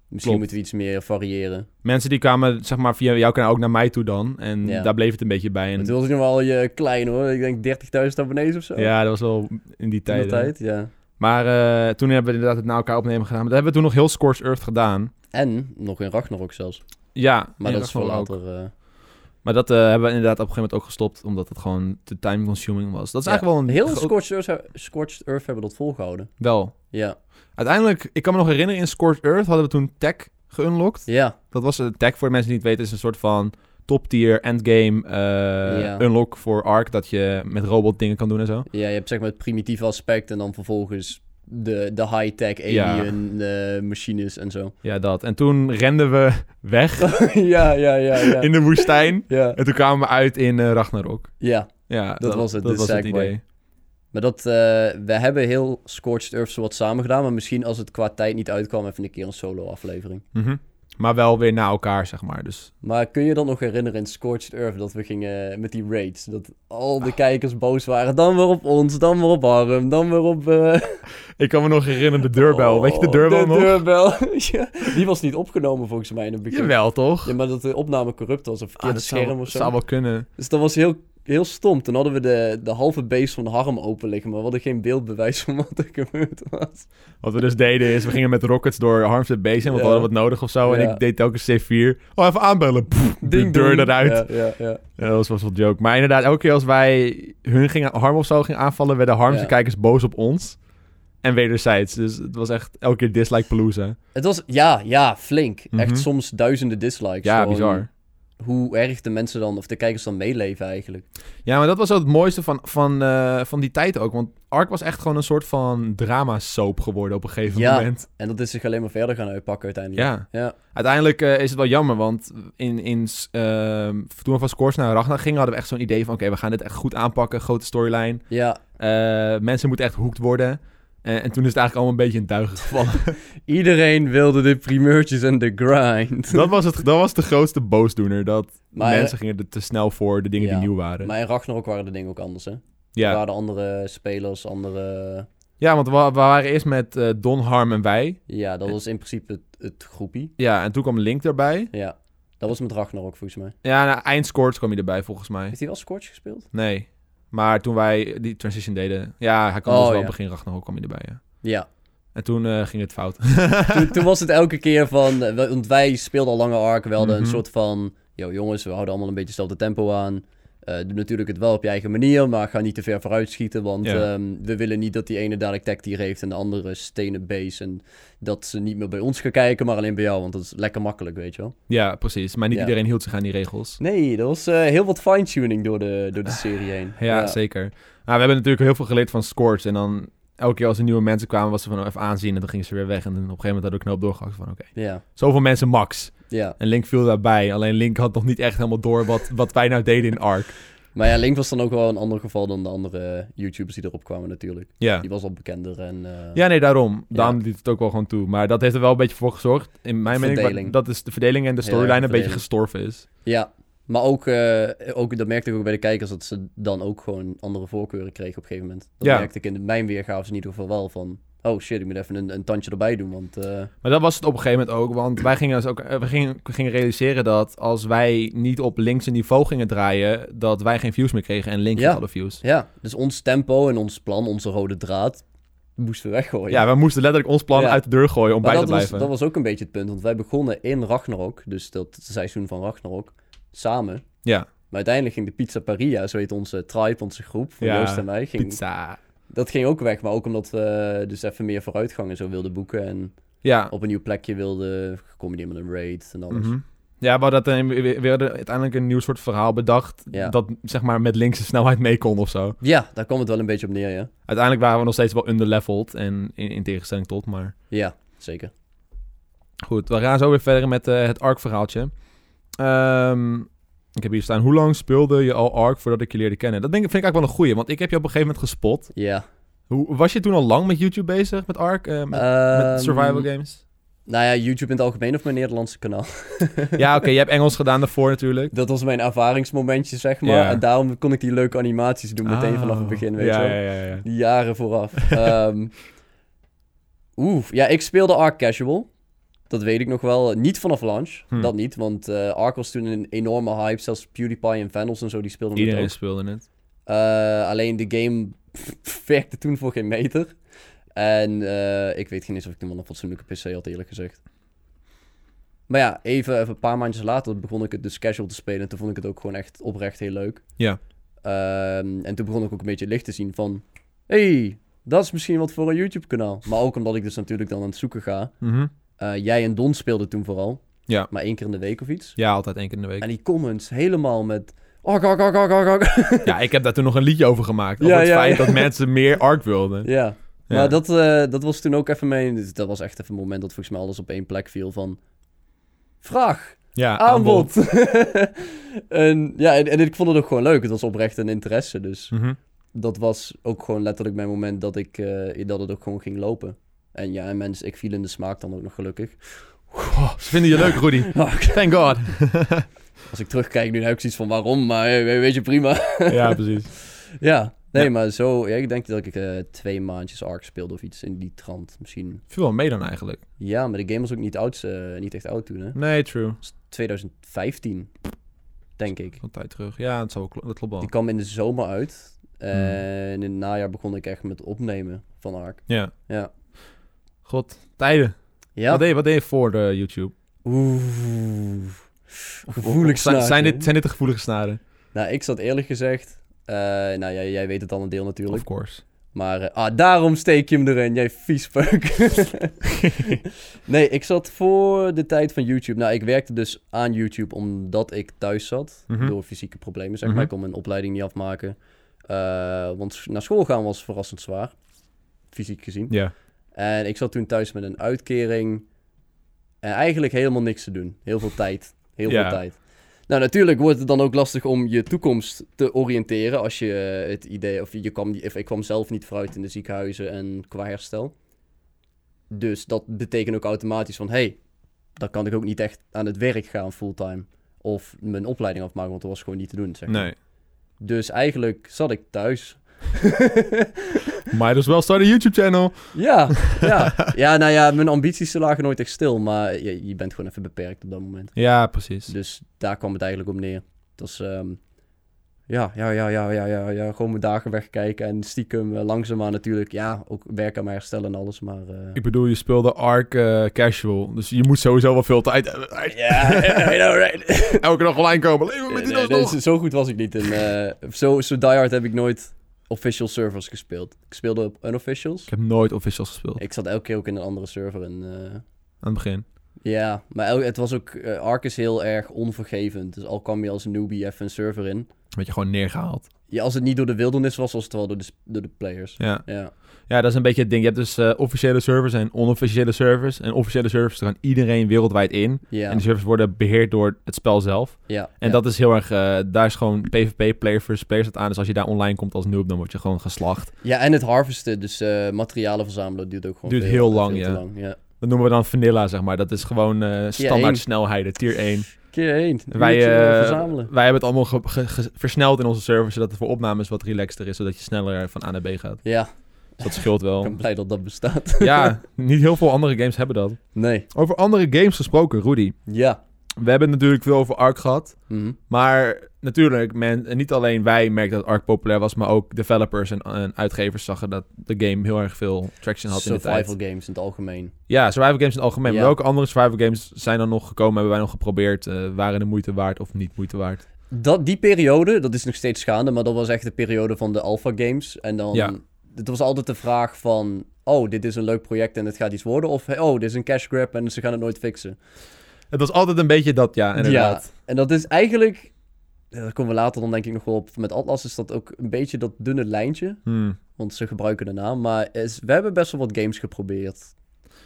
misschien
Klopt.
moeten we iets meer variëren.
mensen die kwamen zeg maar, via jouw kanaal ook naar mij toe dan. En
Ja.
daar bleef het een beetje bij.
Maar
En,
toen was ik nog wel je klein hoor, ik denk 30.000 abonnees of zo.
ja, dat was wel in die
Toen de
tijd.
tijd, ja.
Maar eh, toen hebben we inderdaad het na elkaar opnemen gedaan. Maar dat hebben we toen nog heel Scorched Earth gedaan.
En nog in Ragnarok zelfs.
Ja,
Maar dat is voor
wel
later. eh,
Maar dat eh, hebben we inderdaad op een gegeven moment ook gestopt. Omdat het gewoon te time consuming was. Dat is
Ja.
eigenlijk wel een
Heel
groot-
Scorched Earth, he- Scorched Earth hebben dat volgehouden.
Wel.
Ja.
Uiteindelijk, ik kan me nog herinneren, in Scorched Earth hadden we toen tech geunlocked.
Ja.
Dat was een tech voor de mensen die het weten. is een soort van top tier endgame eh,
Ja.
unlock voor Ark. Dat je met robot dingen kan doen en zo.
ja, je hebt zeg maar het primitieve aspect en dan vervolgens de, de high-tech
Ja.
alien eh, machines en
(laughs)
zo.
Ja, dat. En toen renden we (laughs) weg
ja, ja, ja, ja.
in de woestijn.
Ja,
En toen kwamen we uit in eh, Ragnarok.
ja.
Ja,
Dat was het,
Dat
de
was het
segue.
idee.
Maar dat, eh, we hebben heel Scorched Earth zo wat samen gedaan. Maar misschien als het qua tijd niet uitkwam, even een keer een solo aflevering.
Mhm. Maar wel weer na elkaar, zeg maar. Dus
Maar kun je dan nog herinneren in Scorched Earth dat we gingen met die raids? Dat al
Ah.
de kijkers boos waren. Dan weer op ons, dan weer op Harm, dan weer op... eh,
ik kan me nog herinneren de deurbel. Weet je de
oh,
deurbel nog?
De deurbel. (laughs) ja, die was niet opgenomen volgens mij in het begin.
Jawel, toch?
Ja, maar dat de opname corrupt was, of verkeerde
Ah, dat zou-
scherm of zo.
zou wel kunnen.
Dus dat was heel, heel stom. Toen hadden we de, de halve base van Harm open liggen, maar we hadden geen beeldbewijs van wat er gebeurd was.
Wat we dus deden is, we gingen met rockets door Harm's Base en we
Ja.
hadden wat nodig of zo. En
Ja.
ik deed telkens C4. Oh, even aanbellen. Pff, (laughs) de deur
dong.
eruit.
Ja, ja, ja.
Ja, dat was, was wel joke. Maar inderdaad, elke keer als wij hun gingen, Harm of zo gingen aanvallen, werden Harm's
Ja.
kijkers boos op ons. En wederzijds. Dus het was echt elke keer dislike palooza.
Het was, ja, ja, flink.
Mhm.
Echt soms duizenden dislikes.
Ja,
Gewoon
bizar.
Hoe erg de mensen dan, of de kijkers dan meeleven eigenlijk.
Ja, maar dat was wel het mooiste van, van, eh, van die tijd ook. Want Ark was echt gewoon een soort van drama-soap geworden op een gegeven
Ja.
moment.
En dat is zich alleen maar verder gaan uitpakken uiteindelijk.
Ja.
Ja.
Uiteindelijk eh, is het wel jammer, want in, in, s- ehm, toen we van Scores naar Ragnar gingen, hadden we echt zo'n idee van... Oké, we gaan dit echt goed aanpakken, grote storyline.
ja.
Eh, mensen moeten echt hoekt worden. Eh, en toen is het eigenlijk allemaal een beetje in duigen gevallen.
Iedereen wilde de primeurtjes en de
(laughs)
grind.
dat, was het, dat was de grootste boosdoener. Dat
Maar, eh,
mensen gingen er te snel voor de dingen
Ja,
die nieuw waren.
(laughs) Maar in Ragnarok waren de dingen ook anders, hè? Er
ja.
waren andere spelers, andere...
ja, want we, we waren eerst met eh, Don, Harm en wij.
Ja, dat was in principe het, het groepie.
Ja, en toen kwam Link erbij.
Ja. Dat was met Ragnarok volgens mij.
Ja, na eindscores kwam hij erbij volgens mij.
Heeft hij wel Scorch gespeeld?
Nee. Maar toen wij die transition deden... Ja, hij kwam
Oh,
dus wel
ja.
begin Ragnarok kwam hij erbij, ja.
Ja.
En toen eh, ging het fout. (laughs)
toen, toen was het elke keer van... eh, Want wij speelden al lange arc. We hadden
Mhm.
een soort van... Yo, jongens, we houden allemaal een beetje hetzelfde tempo aan. Eh, doe natuurlijk het wel op je eigen manier, maar ga niet te ver vooruit schieten. Want
Ja.
ehm, we willen niet dat die ene dadelijk tech tier heeft en de andere stenen base. En dat ze niet meer bij ons gaan kijken, maar alleen bij jou. Want dat is lekker makkelijk, weet je wel.
ja, precies. Maar niet
Ja.
iedereen hield zich aan die regels.
Nee, dat was eh, heel wat fine-tuning door de, door de serie heen.
Ja, zeker. Maar we hebben natuurlijk heel veel geleerd van scores. En dan elke keer als er nieuwe mensen kwamen, was ze van oh, even aanzien. En dan gingen ze weer weg. En dan op een gegeven moment hadden we de knoop doorgehakt van oké,
Ja,
zoveel mensen max.
ja.
En Link viel daarbij. Alleen Link had nog niet echt helemaal door wat, wat wij nou deden in Ark.
Maar ja, Link was dan ook wel een ander geval dan de andere YouTubers die erop kwamen natuurlijk.
Ja.
Die was al bekender en... eh,
Ja, nee, daarom. Daarom
Ja.
liet het ook wel gewoon toe. Maar dat heeft er wel een beetje voor gezorgd. In mijn mening, wa-
Verdeling.
dat is de verdeling en de
Ja,
storyline een beetje
verdeling.
gestorven is.
Ja, maar ook, eh, ook, dat merkte ik ook bij de kijkers, dat ze dan ook gewoon andere voorkeuren kregen op een gegeven moment. Dat
Ja.
merkte ik in de- mijn weergaves in ieder geval wel van, oh shit, ik moet even een, een tandje erbij doen, want eh,
Maar dat was het op een gegeven moment ook, want wij gingen, dus ook, eh, we gingen, we gingen realiseren dat als wij niet op linkse niveau gingen draaien, dat wij geen views meer kregen en Link
Ja.
had alle views.
ja, dus ons tempo en ons plan, onze rode draad, moesten we weggooien.
Ja, we moesten letterlijk ons plan
Ja.
uit de deur gooien om
Maar
bij
dat
te
was,
blijven.
dat was ook een beetje het punt, want wij begonnen in Ragnarok, dus dat seizoen van Ragnarok, samen.
Ja,
Maar uiteindelijk ging de Pizza Paria, zo heet onze tribe, onze groep, van
Ja,
Joost en mij, ging,
pizza.
dat ging ook weg. Maar ook omdat we dus even meer vooruitgang en zo wilden boeken en...
Ja.
op een nieuw plekje wilde, gecombineerd met een raid en alles.
Mhm. Ja, we hadden, een- we we hadden uiteindelijk een nieuw soort verhaal bedacht.
Ja.
Dat zeg maar met linkse snelheid mee kon of zo.
Ja, daar kwam het wel een beetje op neer, ja.
Uiteindelijk waren we nog steeds wel underleveled. En in, in tegenstelling tot, maar
Ja, zeker.
goed. We gaan zo weer verder met eh, het Ark-verhaaltje. Ehm, ik heb hier staan. Hoe lang speelde je al Ark voordat ik je leerde kennen? Dat denk, ik- vind ik eigenlijk wel een goeie, want ik heb je op een gegeven moment gespot.
Ja.
Hoe, was je toen al lang met YouTube bezig, met Ark? eh, met,
Ehm,
met survival
(laughs)
games?
Nou ja, YouTube in het algemeen of mijn Nederlandse kanaal. (laughs)
Ja, oké, je hebt Engels gedaan daarvoor natuurlijk.
Dat was mijn ervaringsmomentje, zeg maar.
Ja.
En daarom kon ik die leuke animaties doen meteen vanaf het
Oh,
begin, weet
ja,
je wel.
Ja, ja, ja.
Die jaren
(laughs)
vooraf. Ehm Oeh, ja, ik speelde Ark Casual. Dat weet ik nog wel. Niet vanaf launch,
Hm.
dat niet. Want eh Ark was toen een enorme hype. Zelfs PewDiePie en Vandals en zo, die speelden het ook.
Iedereen speelde het.
Eh, alleen de game werkte toen voor geen meter. En eh, ik weet geen eens of ik toen wel een fatsoenlijke PC had, eerlijk gezegd. Maar ja, even, even een paar maandjes later begon ik het dus casual te spelen. En toen vond ik het ook gewoon echt oprecht heel leuk.
Ja.
Ehm, en toen begon ik ook een beetje licht te zien van... hey, dat is misschien wat voor een YouTube-kanaal. Maar ook omdat ik dus natuurlijk dan aan het zoeken ga.
Mhm.
Eh, jij en Don speelden toen vooral.
Ja.
Maar één keer in de week of iets.
Ja, altijd één keer in de week.
En die comments helemaal met... Oh, oh, oh, oh, oh, oh.
Ja, ik heb daar toen nog een liedje over gemaakt. Over
Ja,
het
ja,
feit
ja.
dat mensen meer Ark wilden.
(laughs) Ja.
Ja.
Maar dat, eh, dat was toen ook even mijn... dus Dat was echt even een moment dat volgens mij alles op één plek viel van... Vraag,
Ja,
aanbod. (laughs) en ja, en, en ik vond het ook gewoon leuk. Het was oprecht een interesse. Dus
Mhm.
dat was ook gewoon letterlijk mijn moment dat, ik, eh, dat het ook gewoon ging lopen. En ja, en mensen, ik viel in de smaak dan ook nog gelukkig. (laughs)
Goh, ze vinden je leuk, Rudy. Thank God.
Als ik terugkijk nu, heb ik zoiets van waarom, maar eh, weet weet je, prima. (laughs)
ja, precies.
ja, nee,
Ja.
maar zo... Ja, ik denk dat ik eh, twee maandjes ARK speelde of iets in die trant. Misschien
Viel wel mee dan eigenlijk.
Ja, maar de game was ook niet, oud, eh, niet echt oud toen, hè?
Nee, true.
2015, denk ik.
Een tijd terug. Ja, dat, zal wel klo- dat klopt wel.
Die kwam in de zomer uit.
Hmm.
En in het najaar begon ik echt met opnemen van Ark.
Ja.
Ja.
God, tijden.
Ja.
Wat, deed je, wat deed je voor de YouTube?
Oeh.
Of-
Gevoelig
of zijn,
snaakje,
zijn,
hè?
dit, zijn dit de gevoelige snaren?
Nou, ik zat eerlijk gezegd... eh, nou, jij, jij weet het al een deel natuurlijk.
Of course.
Maar eh, ah, daarom steek je hem erin, jij
(laughs)
viespeuk. nee, ik zat voor de tijd van YouTube. Nou, ik werkte dus aan YouTube omdat ik thuis zat.
Mhm.
Door fysieke problemen, zeg
Mhm.
maar. Ik kon mijn opleiding niet afmaken. Eh, want s- naar school gaan was verrassend zwaar. Fysiek gezien.
Ja.
En ik zat toen thuis met een uitkering. En eigenlijk helemaal niks te doen. Heel veel tijd. Heel
Ja.
veel tijd. Nou, natuurlijk wordt het dan ook lastig om je toekomst te oriënteren. Als je eh, het idee. Of, je kwam, niet- of ik kwam zelf niet vooruit in de ziekenhuizen en qua herstel. Dus dat betekent ook automatisch van: hé, hey, dan kan ik ook niet echt aan het werk gaan fulltime. Of mijn opleiding afmaken, want dat was gewoon niet te doen. Zeg. maar.
Nee.
Dus eigenlijk zat ik thuis.
Might as well start a YouTube channel.
Ja, ja. ja, nou ja, mijn ambities ze lagen nooit echt stil, maar je, je bent gewoon even beperkt op dat moment.
Ja, precies.
Dus daar kwam het eigenlijk op neer. Het was, ehm, ja, ja, ja, ja, ja, ja, ja, gewoon mijn dagen wegkijken en stiekem eh, langzaamaan natuurlijk, ja, ook werk aan mijn herstellen en alles, maar... eh,
Ik bedoel, je speelde Ark eh, casual. Dus je moet sowieso wel veel tijd...
(laughs) (laughs) Ja, I know, right. (laughs)
Elke dag online komen. Leven met die
Nee,
dag nog.
dus zo goed was ik niet. En, eh, zo, zo diehard heb ik nooit official servers gespeeld. Ik speelde op unofficials.
Ik heb nooit officials gespeeld.
Ik zat elke keer ook in een andere server en... eh,
Aan het begin.
Ja, maar el- het was ook... eh, Ark is heel erg onvergevend. Dus al kwam je als newbie even een server in.
Werd je gewoon neergehaald.
Ja, als het niet door de wildernis was, was het wel door de, sp- door de players.
Ja.
Ja,
ja, dat is een beetje het ding. Je hebt dus eh, officiële servers en onofficiële servers. En officiële servers, daar kan iedereen wereldwijd in.
ja,
En die servers worden beheerd door het spel zelf.
ja.
En
ja.
dat is heel erg... eh, daar is gewoon PvP, player versus player staat aan. Dus als je daar online komt als noob, dan word je gewoon geslacht.
Ja, en het harvesten, dus eh, materialen verzamelen, dat duurt ook gewoon
Duurt
veel-
heel lang,
veel te
ja.
lang, ja.
Dat noemen we dan vanilla, zeg maar. Dat is gewoon eh, standaard
één.
snelheden, tier 1.
Keer één,
Wij,
uurtje,
eh,
eh, verzamelen.
wij hebben het allemaal ge- ge- ge- versneld in onze servers, zodat het voor opnames wat relaxter is, zodat je sneller van A naar B gaat.
Ja,
Dus dat scheelt
(laughs) ik
wel.
ben blij dat dat bestaat.
ja, niet heel veel andere games hebben dat.
Nee,
Over andere games gesproken, Rudy.
ja.
We hebben het natuurlijk veel over Ark gehad.
Mhm.
Maar natuurlijk, men, en niet alleen wij merkten dat Ark populair was, maar ook developers en, en uitgevers zagen dat de game heel erg veel traction had in de
Survival
tijd.
games in het algemeen.
Ja, survival games in het algemeen.
Ja.
Maar welke andere survival games zijn er nog gekomen? Hebben wij nog geprobeerd? eh, waren de moeite waard of niet moeite waard?
Dat, die periode, dat is nog steeds gaande, maar dat was echt de periode van de Alpha Games. En dan,
Ja.
het was altijd de vraag van, oh, dit is een leuk project en het gaat iets worden. Of, oh, dit is een cash grab en ze gaan het nooit fixen.
Het was altijd een beetje dat, ja, inderdaad.
Ja, en dat is eigenlijk... ja, Daar komen we later dan denk ik nog wel op. Met Atlas is dat ook een beetje dat dunne lijntje.
Hmm.
Want ze gebruiken de naam. Maar is, we hebben best wel wat games geprobeerd.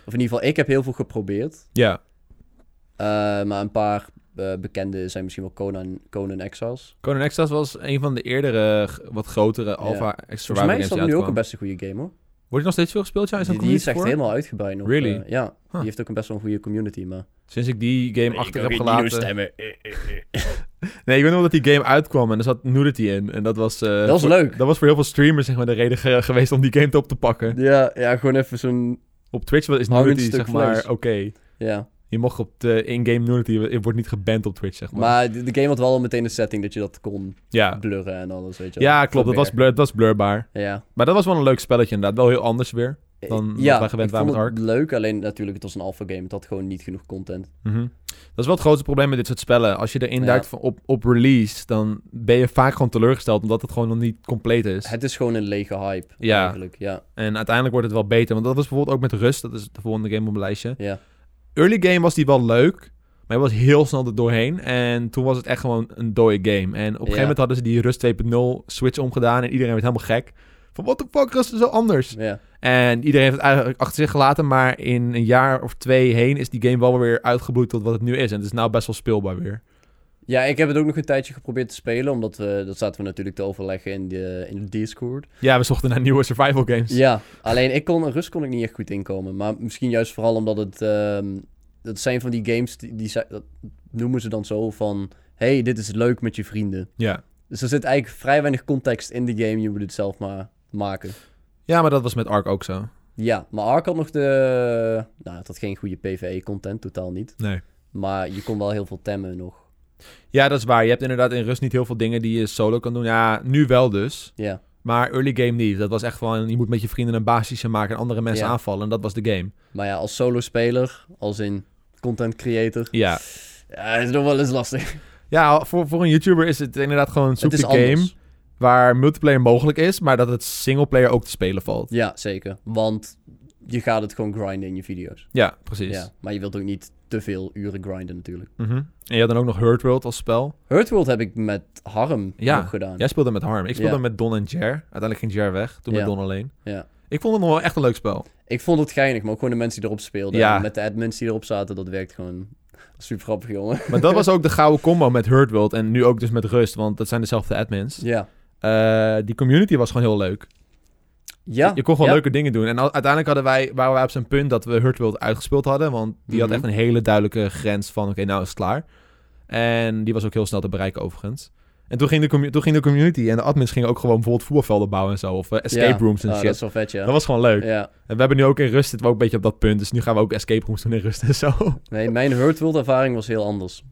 Of in ieder geval, ik heb heel veel geprobeerd.
Ja,
Eh, maar een paar eh, bekende zijn misschien wel Conan, Conan Exiles.
Conan Exiles was een van de eerdere, g- wat grotere alpha ja.
Volgens mij
games
is dat
die
nu ook een
uitkwamen.
best een goede game hoor.
Wordt er nog steeds veel gespeeld? Ja, is dat
Die, die is echt
community voor?
helemaal uitgebreid nog.
Really?
eh, ja,
Huh.
die heeft ook een best wel een goede community, maar...
Sinds ik die game achter heb gelaten.
stemmen.
Nee, ik weet nog wel dat die game uitkwam en er zat nudity in. En dat was... eh,
Dat was
voor-
leuk.
Dat was voor heel veel streamers zeg maar, de reden ge- geweest om die game te op te pakken.
(laughs) Ja, ja, gewoon even zo'n...
Op Twitch is
Hang een
nudity
stuk
zeg maar
vlees.
oké.
Ja,
Je mocht op de in-game nudity, je wordt niet geband op Twitch zeg maar.
maar de, de game had wel al meteen een setting dat je dat kon
ja.
blurren en alles, weet je wel.
ja, klopt. Dat was,
Flipper.
blur, dat was blurbaar.
Ja.
Maar dat was wel een leuk spelletje inderdaad. Wel heel anders weer. Dan wat wij gewend
ik
waren
vond
met
het leuk, alleen natuurlijk, het was een alpha game. Het had gewoon niet genoeg content.
Mhm. Dat is wel het grootste probleem met dit soort spellen. Als je erin
Ja.
duikt van op, op release, dan ben je vaak gewoon teleurgesteld omdat het gewoon nog niet compleet is.
Het is gewoon een lege hype,
Ja.
eigenlijk. Ja,
En uiteindelijk wordt het wel beter. Want dat was bijvoorbeeld ook met Rust. Dat is de volgende game op mijn lijstje.
ja.
Early game was die wel leuk. Maar hij was heel snel er doorheen. En toen was het echt gewoon een dode game. En op een gegeven
Ja.
moment hadden ze die Rust 2.0 switch omgedaan. En iedereen werd helemaal gek. Van what the fuck, Rust is zo anders.
ja.
En iedereen heeft het eigenlijk achter zich gelaten. Maar in een jaar of twee heen is die game wel weer uitgebloeid tot wat het nu is. En het is nou best wel speelbaar weer.
Ja, ik heb het ook nog een tijdje geprobeerd te spelen, omdat we, dat zaten we natuurlijk te overleggen in de, in de Discord.
Ja, we zochten naar nieuwe survival games.
Ja, alleen ik kon, rust kon ik niet echt goed inkomen, maar misschien juist vooral omdat het, ehm, dat zijn van die games, die, die zijn- dat noemen ze dan zo van, hey, dit is leuk met je vrienden.
ja.
Dus er zit eigenlijk vrij weinig context in de game, je moet het zelf maar maken.
Ja, maar dat was met Ark ook zo.
Ja, maar Ark had nog de, nou, het had geen goede PvE-content, totaal niet.
Nee.
Maar je kon wel heel veel temmen nog.
Ja, dat is waar. Je hebt inderdaad in rust niet heel veel dingen die je solo kan doen. Ja, nu wel dus.
Ja,
Maar early game niet. Dat was echt van, je moet met je vrienden een basisje maken en andere mensen
Ja.
aanvallen. En dat was de game.
maar ja, als solo-speler, als in content creator,
Ja,
ja, dat is nog wel eens lastig.
ja voor, voor een YouTuber is het inderdaad gewoon een
Het
soepele
is
game.
anders.
Waar multiplayer mogelijk is, maar dat het singleplayer ook te spelen valt.
Ja, zeker. Want je gaat het gewoon grinden in je video's.
Ja, precies.
Ja, maar je wilt ook niet te veel uren grinden natuurlijk.
Mhm. En je had dan ook nog Hurt World als spel.
Hurtworld heb ik met Harm
Ja,
nog gedaan.
Jij speelde met Harm. Ik speelde
Ja.
met Don en Jer. Uiteindelijk ging Jer weg. Toen
Ja.
met Don alleen.
Ja.
Ik vond het nog wel echt een leuk spel.
Ik vond het geinig, maar ook gewoon de mensen die erop speelden.
Ja.
En met de admins die erop zaten, dat werkt gewoon super grappig, jongen. (laughs)
Maar dat was ook de gouden combo met Hurt World. En nu ook dus met Rust, want dat zijn dezelfde admins.
Ja.
Eh, die community was gewoon heel leuk.
Ja.
Je kon gewoon
ja.
leuke dingen doen. En al- uiteindelijk hadden wij, waren wij op zijn punt dat we Hurt World uitgespeeld hadden. Want die
Mhm.
had echt een hele duidelijke grens van... oké, nou is het klaar. En die was ook heel snel te bereiken overigens. En toen ging de, commu- toen ging de community en de admins gingen ook gewoon bijvoorbeeld voetbalvelden bouwen en zo. Of eh, escape
Ja.
rooms en
Ah,
shit.
Dat
Dat,
is wel vet, ja.
was gewoon leuk.
Ja.
En we hebben nu ook in rust zitten we ook een beetje op dat punt. Dus nu gaan we ook escape rooms doen in rust en zo. (laughs)
Nee, mijn Hurtworld ervaring was heel anders.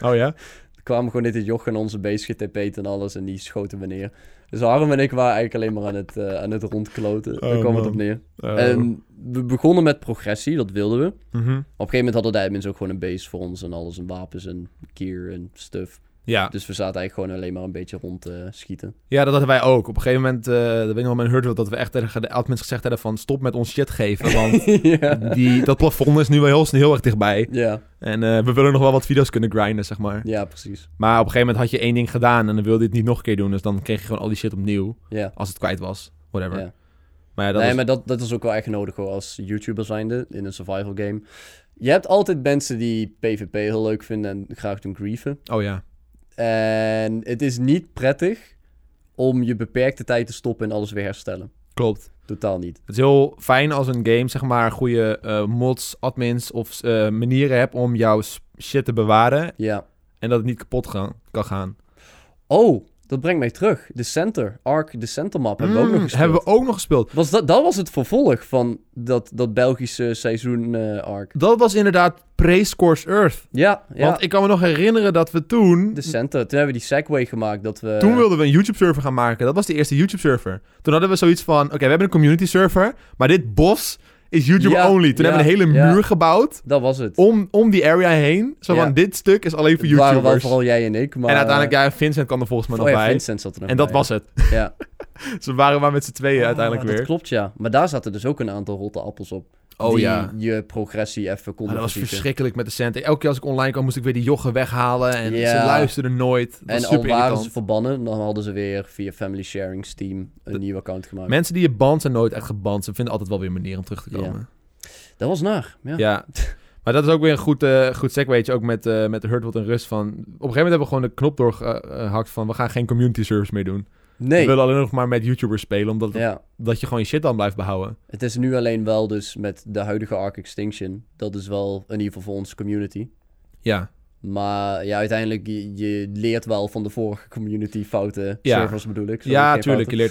Oh ja?
Er kwamen gewoon dit het joch en onze beest getp'd en alles en die schoten we neer. Dus Harm en ik waren eigenlijk alleen maar aan het, eh, aan het rondkloten. Daar
Oh,
kwam het
man.
op neer.
Oh.
En we begonnen met progressie, dat wilden we.
Mhm.
Op een gegeven moment hadden de admins ook gewoon een base voor ons en alles. En wapens en gear en stuff.
Ja.
Dus we zaten eigenlijk gewoon alleen maar een beetje rond te schieten.
Ja, dat hadden wij ook. Op een gegeven moment, eh dat weet ik nog wel, mijn hurdle, dat we echt tegen de admins gezegd hebben van stop met ons shit geven,
(laughs)
want
ja.
die, dat plafond is nu wel heel, heel erg dichtbij.
ja.
En eh, we willen nog wel wat video's kunnen grinden, zeg maar.
Ja, precies.
Maar op een gegeven moment had je één ding gedaan en dan wilde je het niet nog een keer doen, dus dan kreeg je gewoon al die shit opnieuw,
Ja.
als het kwijt was, whatever.
Ja.
Maar ja, dat
nee,
was-
maar dat, dat is ook wel echt nodig hoor, als YouTuber zijnde in een survival game. Je hebt altijd mensen die PvP heel leuk vinden en graag doen grieven.
Oh ja.
En het is niet prettig om je beperkte tijd te stoppen en alles weer herstellen.
Klopt.
Totaal niet.
Het is heel fijn als een game, zeg maar, goede eh, mods, admins of eh, manieren hebt om jouw s- shit te bewaren
Ja.
en dat het niet kapot gaan, kan gaan.
Oh, dat brengt mij terug. De Center, Ark, de Center map hebben we ook nog
Mm,
gespeeld.
hebben we ook nog gespeeld.
Was dat, dat was het vervolg van dat, dat Belgische seizoen eh, arc.
Dat was inderdaad pre-Scores Earth.
Ja, ja. Dus,
Want ik kan me nog herinneren dat we toen...
de center. Toen hebben we die segway gemaakt dat we...
Toen wilden we een YouTube-server gaan maken. Dat was de eerste YouTube-server. Toen hadden we zoiets van... Oké, we hebben een community-server. Maar dit bos is YouTube-only.
Ja,
Toen
ja,
hebben we een hele
ja.
muur gebouwd.
Dat was het.
Om, om die area heen. Zo
Ja.
van, dit stuk is alleen voor
Het waren wel
YouTubers.
vooral jij en ik, maar... eh,
En uiteindelijk, ja, Vincent kwam er volgens mij
Oh
nog
ja,
bij.
Vincent zat er nog
en dat
bij.
was het.
Ja.
(laughs)
Ah,
Ze waren maar met z'n tweeën uiteindelijk
dat
weer.
klopt, ja. Maar daar zaten dus ook een aantal rotte appels op.
Oh
die
ja.
je progressie even
Maar
konden
Ah, dat was
verzieken.
verschrikkelijk met de centen. Elke keer als ik online kwam, moest ik weer die jochen weghalen. En
Ja.
ze luisterden nooit. Dat was
En al
super
waren
irritant.
ze verbannen, dan hadden ze weer via Family Sharing Steam een
De-
nieuw account gemaakt.
Mensen die je band zijn nooit echt geband. Ze vinden altijd wel weer een manier om terug te
Ja.
komen.
Dat was naar. Ja.
Ja. Maar dat is ook weer een goed, eh goed segwaytje. Ook met, eh met Hurtwood en Rust. Van, op een gegeven moment hebben we gewoon de knop doorgehakt van... we gaan geen community service meer doen.
Nee.
We willen alleen nog maar met YouTubers spelen. Omdat
Ja.
dat je gewoon je shit dan blijft behouden.
Het is nu alleen wel dus met de huidige Arc Extinction. Dat is wel in ieder geval voor onze community.
Ja.
Maar ja, uiteindelijk, je, je leert wel van de vorige community fouten.
Ja.
Servers bedoel ik. sorry,
ja,
geen
tuurlijk. Je
fouten.
leert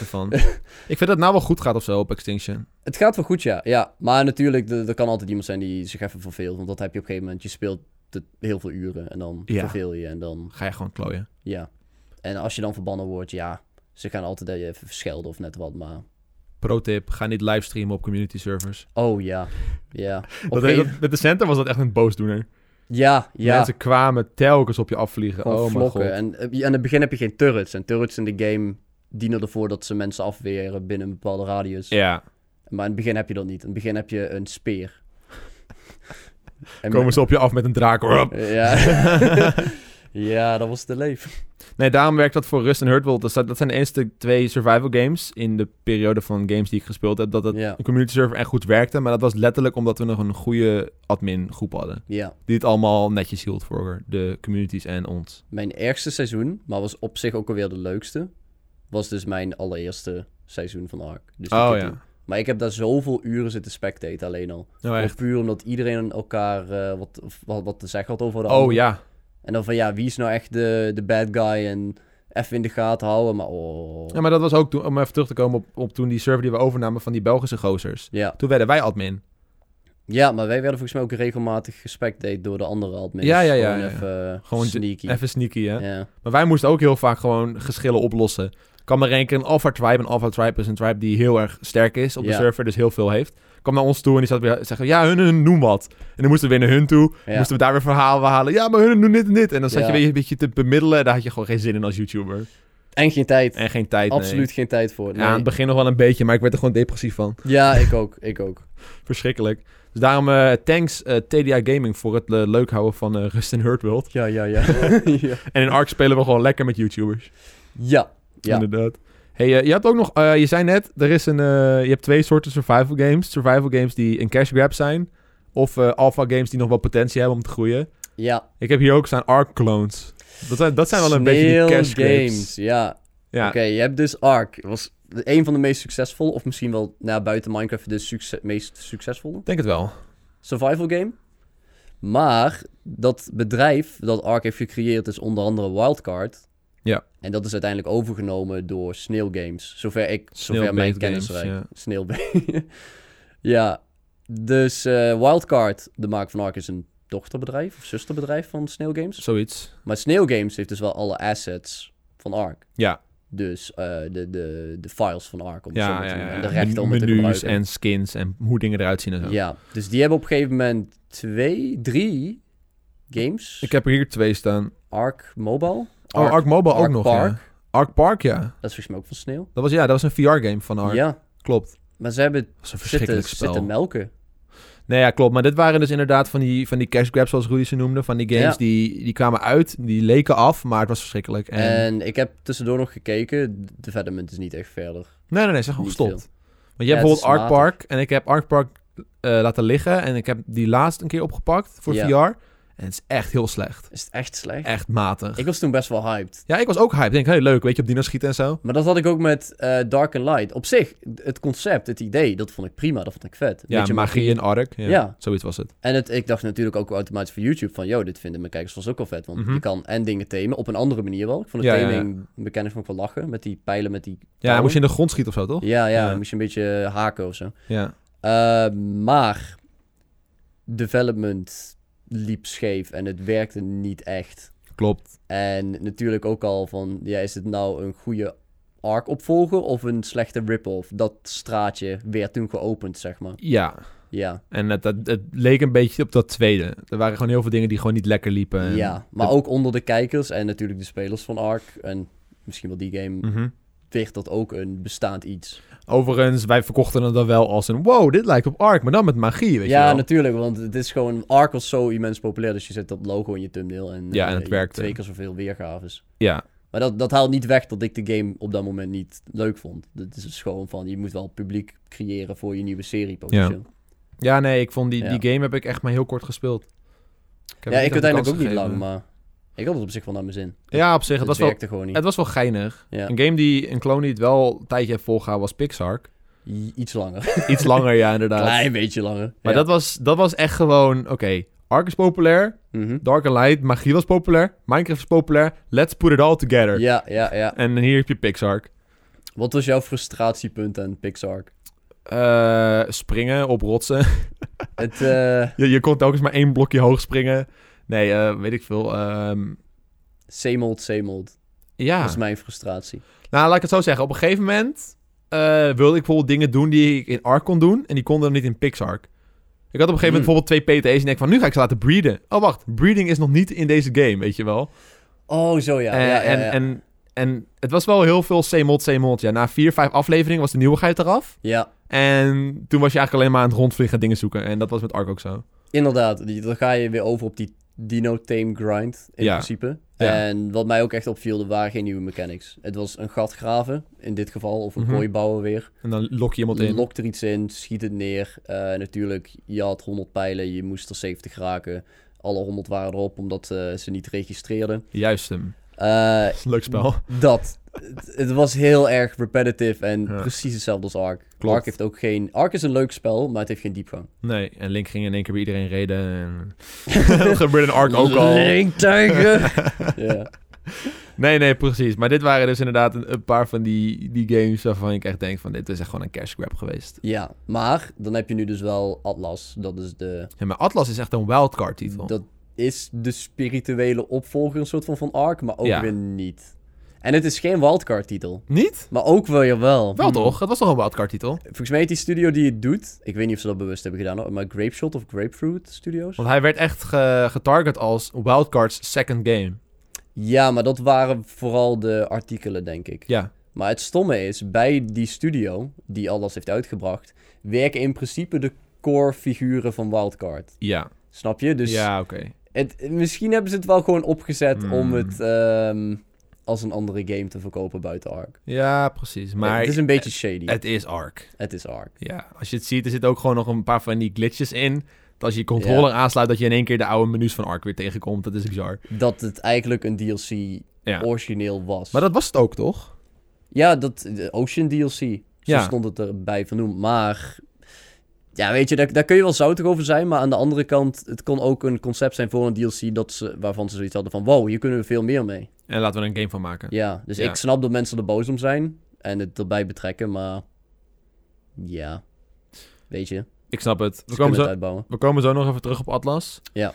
ervan.
(laughs)
ik vind dat het nou wel goed gaat of zo op Extinction.
Het gaat wel goed, ja. ja. Maar natuurlijk, er er kan altijd iemand zijn die zich even verveelt. Want dat heb je op een gegeven moment. Je speelt het heel veel uren en dan
Ja.
verveel je. En dan,
Ga je gewoon klooien.
ja. En als je dan verbannen wordt, ja. Ze gaan altijd dat je even verschelden of net wat, maar...
Pro tip, ga niet livestreamen op community servers.
Oh, ja. Ja. Op
Dat,
een
dat- met de center was dat echt een boosdoener.
Ja, ja.
Mensen kwamen telkens op je afvliegen.
Gewoon
oh mijn god.
vlokken. En eh, aan het begin heb je geen turrets. En turrets in de game dienen ervoor dat ze mensen afweren binnen een bepaalde radius.
Ja,
Maar in het begin heb je dat niet. In het begin heb je een
(laughs)
speer. En
komen
(laughs)
ze op je af met een draak. Rup.
Eh, Ja.
(laughs)
ja, dat was de leef.
Nee, daarom werkt dat voor Rust en Hurtworld. Dat zijn dat zijn de eerste twee survival games in de periode van games die ik gespeeld heb. Dat het
Ja.
een community server echt goed werkte. Maar dat was letterlijk omdat we nog een goede admin groep hadden.
Ja,
Die het allemaal netjes hield voor de communities en ons.
mijn ergste seizoen, maar was op zich ook alweer de leukste, was dus mijn allereerste seizoen van Ark. Dus die
Oh
Kitty.
ja.
Maar ik heb daar zoveel uren zitten spectaten alleen al.
Nou,
Gewoon
echt.
Puur omdat iedereen elkaar eh, wat, of wat, wat te zeggen had over de
Oh
ander.
ja.
En dan van ja, wie is nou echt de, de bad guy en even in de gaten houden, maar oh.
ja. Maar dat was ook toen, om even terug te komen op, op toen die server die we overnamen van die Belgische gozers.
Ja.
Toen werden wij admin.
ja, maar wij werden volgens mij ook regelmatig gespectateerd door de andere admins.
Ja, ja, ja,
Gewoon
ja, ja.
even eh,
Gewoon
sneaky.
Even sneaky, hè?
ja.
Maar wij moesten ook heel vaak gewoon geschillen oplossen. Ik kwam er één keer een Alpha Tribe. Een Alpha Tribe is een tribe die heel erg sterk is op de
Ja.
server, dus heel veel heeft. Kwam naar ons toe en die zat weer zeggen, ja, hun, hun, noem wat. En dan moesten we weer naar hun toe.
Ja.
Moesten we daar weer verhalen halen. Ja, maar hun doen dit en dit. En dan zat
Ja.
je weer een beetje te bemiddelen. en Daar had je gewoon geen zin in als YouTuber.
En geen tijd.
En geen tijd, nee.
Absoluut geen tijd voor.
Ja, aan
nee.
het begin nog wel een beetje, maar ik werd er gewoon depressief van.
Ja, ik ook. Ik ook.
Verschrikkelijk. Dus daarom eh thanks eh, TDA Gaming voor het eh, leuk houden van eh, Rust en Hurt World.
Ja, ja, (laughs) ja. ja.
En in Ark spelen we gewoon lekker met YouTubers.
ja. Ja.
Inderdaad. Hey, eh, je hebt ook nog, eh, je zei net, er is een, eh, je hebt twee soorten survival games. Survival games die een cash grab zijn. Of eh alpha games die nog wel potentie hebben om te groeien.
Ja.
Ik heb hier ook staan Ark clones. Dat zijn, dat zijn wel een beetje die
Snail
cash grabs.
games. Ja.
Ja,
Oké, je hebt dus Ark. Was een van de meest succesvolle, of misschien wel nou, buiten Minecraft de succe- meest succesvolle
ik denk het wel.
survival game. Maar dat bedrijf dat Ark heeft gecreëerd is onder andere Wildcard.
Ja.
En dat is uiteindelijk overgenomen door Snail Games. Zover ik, zover mijn
Snail-based
kennis
games,
reikt.
ja.
Snail (laughs) ja. Dus eh, Wildcard, de maak van Ark, is een dochterbedrijf of zusterbedrijf van Snail Games.
Zoiets.
Maar Snail Games heeft dus wel alle assets van Ark.
Ja.
Dus eh, de, de, de files van Ark, om het zo
Ja,
maar
ja,
te noemen.
ja.
En de rechten om het te
Menus
gebruiken.
en skins en hoe dingen eruit zien en zo.
Ja, dus die hebben op een gegeven moment twee, drie games.
Ik heb er hier twee staan.
Ark Mobile.
Oh, Ark, Mobile ook
Ark
nog,
Park.
ja. Ark Park, ja.
Dat is volgens mij ook van Sneeuw.
Dat was, ja, dat was een VR-game van Ark.
Ja,
Klopt.
maar ze hebben
Dat was een
zitten,
verschrikkelijk spel.
zitten melken.
Nee, ja, klopt. Maar dit waren dus inderdaad van die, van die cash grabs, zoals Rudy ze noemde. Van die games
Ja.
die, die kwamen uit, die leken af, maar het was verschrikkelijk. En...
En ik heb tussendoor nog gekeken. De development is niet echt verder.
Nee, nee, nee, ze zijn gewoon
Niet
gestopt.
veel.
Want je hebt
Ja, het
bijvoorbeeld
is
Ark Park en ik heb Ark Park eh, laten liggen. En ik heb die laatst een keer opgepakt voor
Ja.
VR. En het is echt heel slecht.
Is het echt slecht?
Echt matig.
Ik was toen best wel hyped.
Ja, ik was ook hyped. Ik denk, hey, leuk, weet je, op dino schieten en zo.
Maar dat had ik ook met eh, Dark and Light. Op zich, het concept, het idee, dat vond ik prima. Dat vond ik vet.
Ja,
Beetje
magie, in Ark. Ja,
Ja.
Zoiets was het.
En het, ik dacht natuurlijk ook automatisch voor YouTube van... ...yo, dit vinden mijn kijkers vast ook wel vet. Want
Mhm.
je kan en dingen themen, op een andere manier wel. Ik vond de
Ja, ja, ja.
theming, mijn kennis vond ik wel lachen. Met die pijlen, met die...
Ja,
touwen.
moest je in de grond schieten of zo, toch?
Ja, ja,
Ja.
moest je een beetje haken of zo.
Ja.
Eh, maar development liep scheef en het werkte niet echt.
Klopt.
En natuurlijk ook al van, ja, is het nou een goede arc opvolger of een slechte rip-off? Dat straatje werd toen geopend, zeg maar.
Ja.
Ja,
En het, het, het leek een beetje op dat tweede. Er waren gewoon heel veel dingen die gewoon niet lekker liepen. En-
ja. maar ook onder de kijkers en natuurlijk de spelers van arc en misschien wel die game.
Mhm.
werd dat ook een bestaand iets.
Overigens, wij verkochten het dan wel als een... Wow, dit lijkt op Ark, maar dan met magie, weet
ja,
je wel.
natuurlijk, want het is gewoon... Ark was zo immens populair, dus je zet dat logo in je thumbnail en,
Ja, en
eh,
het
je-
werkte.
twee keer zoveel weergaves.
Ja,
Maar dat, dat haalt niet weg dat ik de game op dat moment niet leuk vond. Het is dus gewoon van, je moet wel publiek creëren voor je nieuwe serie potentieel.
ja nee, ik vond die,
Ja.
die game heb ik echt maar heel kort gespeeld.
Ja,
heb hem niet
ik
echt een
uiteindelijk ook
kans
niet lang,
gegeven.
maar ik had het op zich wel naar mijn zin.
Ja, op zich, het
het
was wel,
werkte gewoon niet.
het was wel geinig.
Ja.
Een game die, een clone die het wel een tijdje heeft volgehouden was Pixar.
I- Iets langer.
Iets langer, ja, inderdaad.
Klein beetje langer.
Maar
Ja.
dat, was, dat was echt gewoon, oké, Ark is populair,
Mhm.
Dark and Light, magie was populair, Minecraft is populair, let's put it all together.
Ja, ja, ja.
En hier heb je Pixar.
Wat was jouw frustratiepunt aan Pixar?
Eh, springen op rotsen.
Het, eh
je, je kon telkens maar één blokje hoog springen. Nee, eh, weet ik veel. ehm,
same old, same old.
ja.
Dat is mijn frustratie.
Nou, laat ik het zo zeggen. Op een gegeven moment eh, wilde ik bijvoorbeeld dingen doen die ik in Ark kon doen. En die konden dan niet in Pixar. Ik had op een gegeven moment
Hmm.
bijvoorbeeld twee PT's. En ik denk van, nu ga ik ze laten breeden. Oh, wacht. Breeding is nog niet in deze game, weet je wel.
Oh, zo ja.
en,
ja, ja,
Eh, en,
ja.
En, en het was wel heel veel zeemot, zeemot. Ja, na vier, vijf afleveringen was de nieuwigheid eraf.
Ja,
En toen was je eigenlijk alleen maar aan het rondvliegen en dingen zoeken. En dat was met Ark ook zo.
inderdaad. Die- Dan ga je weer over op die Dino Tame grind, in
Ja.
principe.
Ja.
En wat mij ook echt opviel, er waren geen nieuwe mechanics. Het was een gat graven, in dit geval, of een
Mhm.
kooi bouwen weer.
En dan lok je iemand
Je
in.
lokt er iets in, schiet het neer. Eh, natuurlijk, je had 100 pijlen, je moest er 70 raken. Alle 100 waren erop, omdat eh, ze niet registreerden.
Juist hem.
Eh,
Leuk spel.
Dat. het, het was heel erg repetitive en
Ja.
precies hetzelfde als Ark.
Klopt.
Ark heeft ook geen... Ark is een leuk spel, maar het heeft geen diepgang.
Nee, en Link ging in één keer bij iedereen reden.
(laughs)
En... dat gebeurde in Ark ook al.
Linktuigen!
(laughs)
ja.
Nee, nee, precies. Maar dit waren dus inderdaad een, een paar van die, die games waarvan ik echt denk van... Dit is echt gewoon een cash grab geweest.
ja, maar dan heb je nu dus wel Atlas. Dat is de...
Ja, maar Atlas is echt een wildcard titel.
Dat is de spirituele opvolger een soort van van Ark, maar ook
Ja.
weer niet. En het is geen wildcard titel.
Niet?
Maar ook weer wel.
Wel
Hmm.
toch? Het was toch een wildcard titel?
Volgens mij is die studio die het doet... Ik weet niet of ze dat bewust hebben gedaan, hoor, maar Grapeshot of Grapefruit Studios?
Want hij werd echt ge- getarget als wildcards second game.
Ja, maar dat waren vooral de artikelen, denk ik.
Ja.
Maar het stomme is, bij die studio die alles heeft uitgebracht, werken in principe de core figuren van Wildcard.
Ja.
Snap je? Dus
ja, oké.
het, misschien hebben ze het wel gewoon opgezet
Hmm.
om het ehm, als een andere game te verkopen buiten Ark.
Ja, precies. Maar eh,
het is een beetje shady. Het,
het is Ark.
is Ark.
Ja. Als je het ziet, er zitten ook gewoon nog een paar van die glitches in. Dat als je je controller aansluit, dat je in één keer de oude menus van Ark weer tegenkomt. Dat is bizar.
Dat het eigenlijk een DLC
Ja.
origineel was.
Maar dat was het ook, toch?
Ja, dat, de Ocean DLC. Zo
Ja.
stond het erbij vernoemd. Maar ja, weet je, daar, daar kun je wel zoutig over zijn. Maar aan de andere kant, het kon ook een concept zijn voor een DLC dat ze, waarvan ze zoiets hadden van... Wow, hier kunnen we veel meer mee.
En laten we er een game van maken.
Ja, dus
Ja.
ik snap dat mensen er boos om zijn en het erbij betrekken. Maar ja, weet je,
Ik snap het.
we
We komen
het
zo,
uitbouwen.
we komen zo nog even terug op Atlas.
Ja.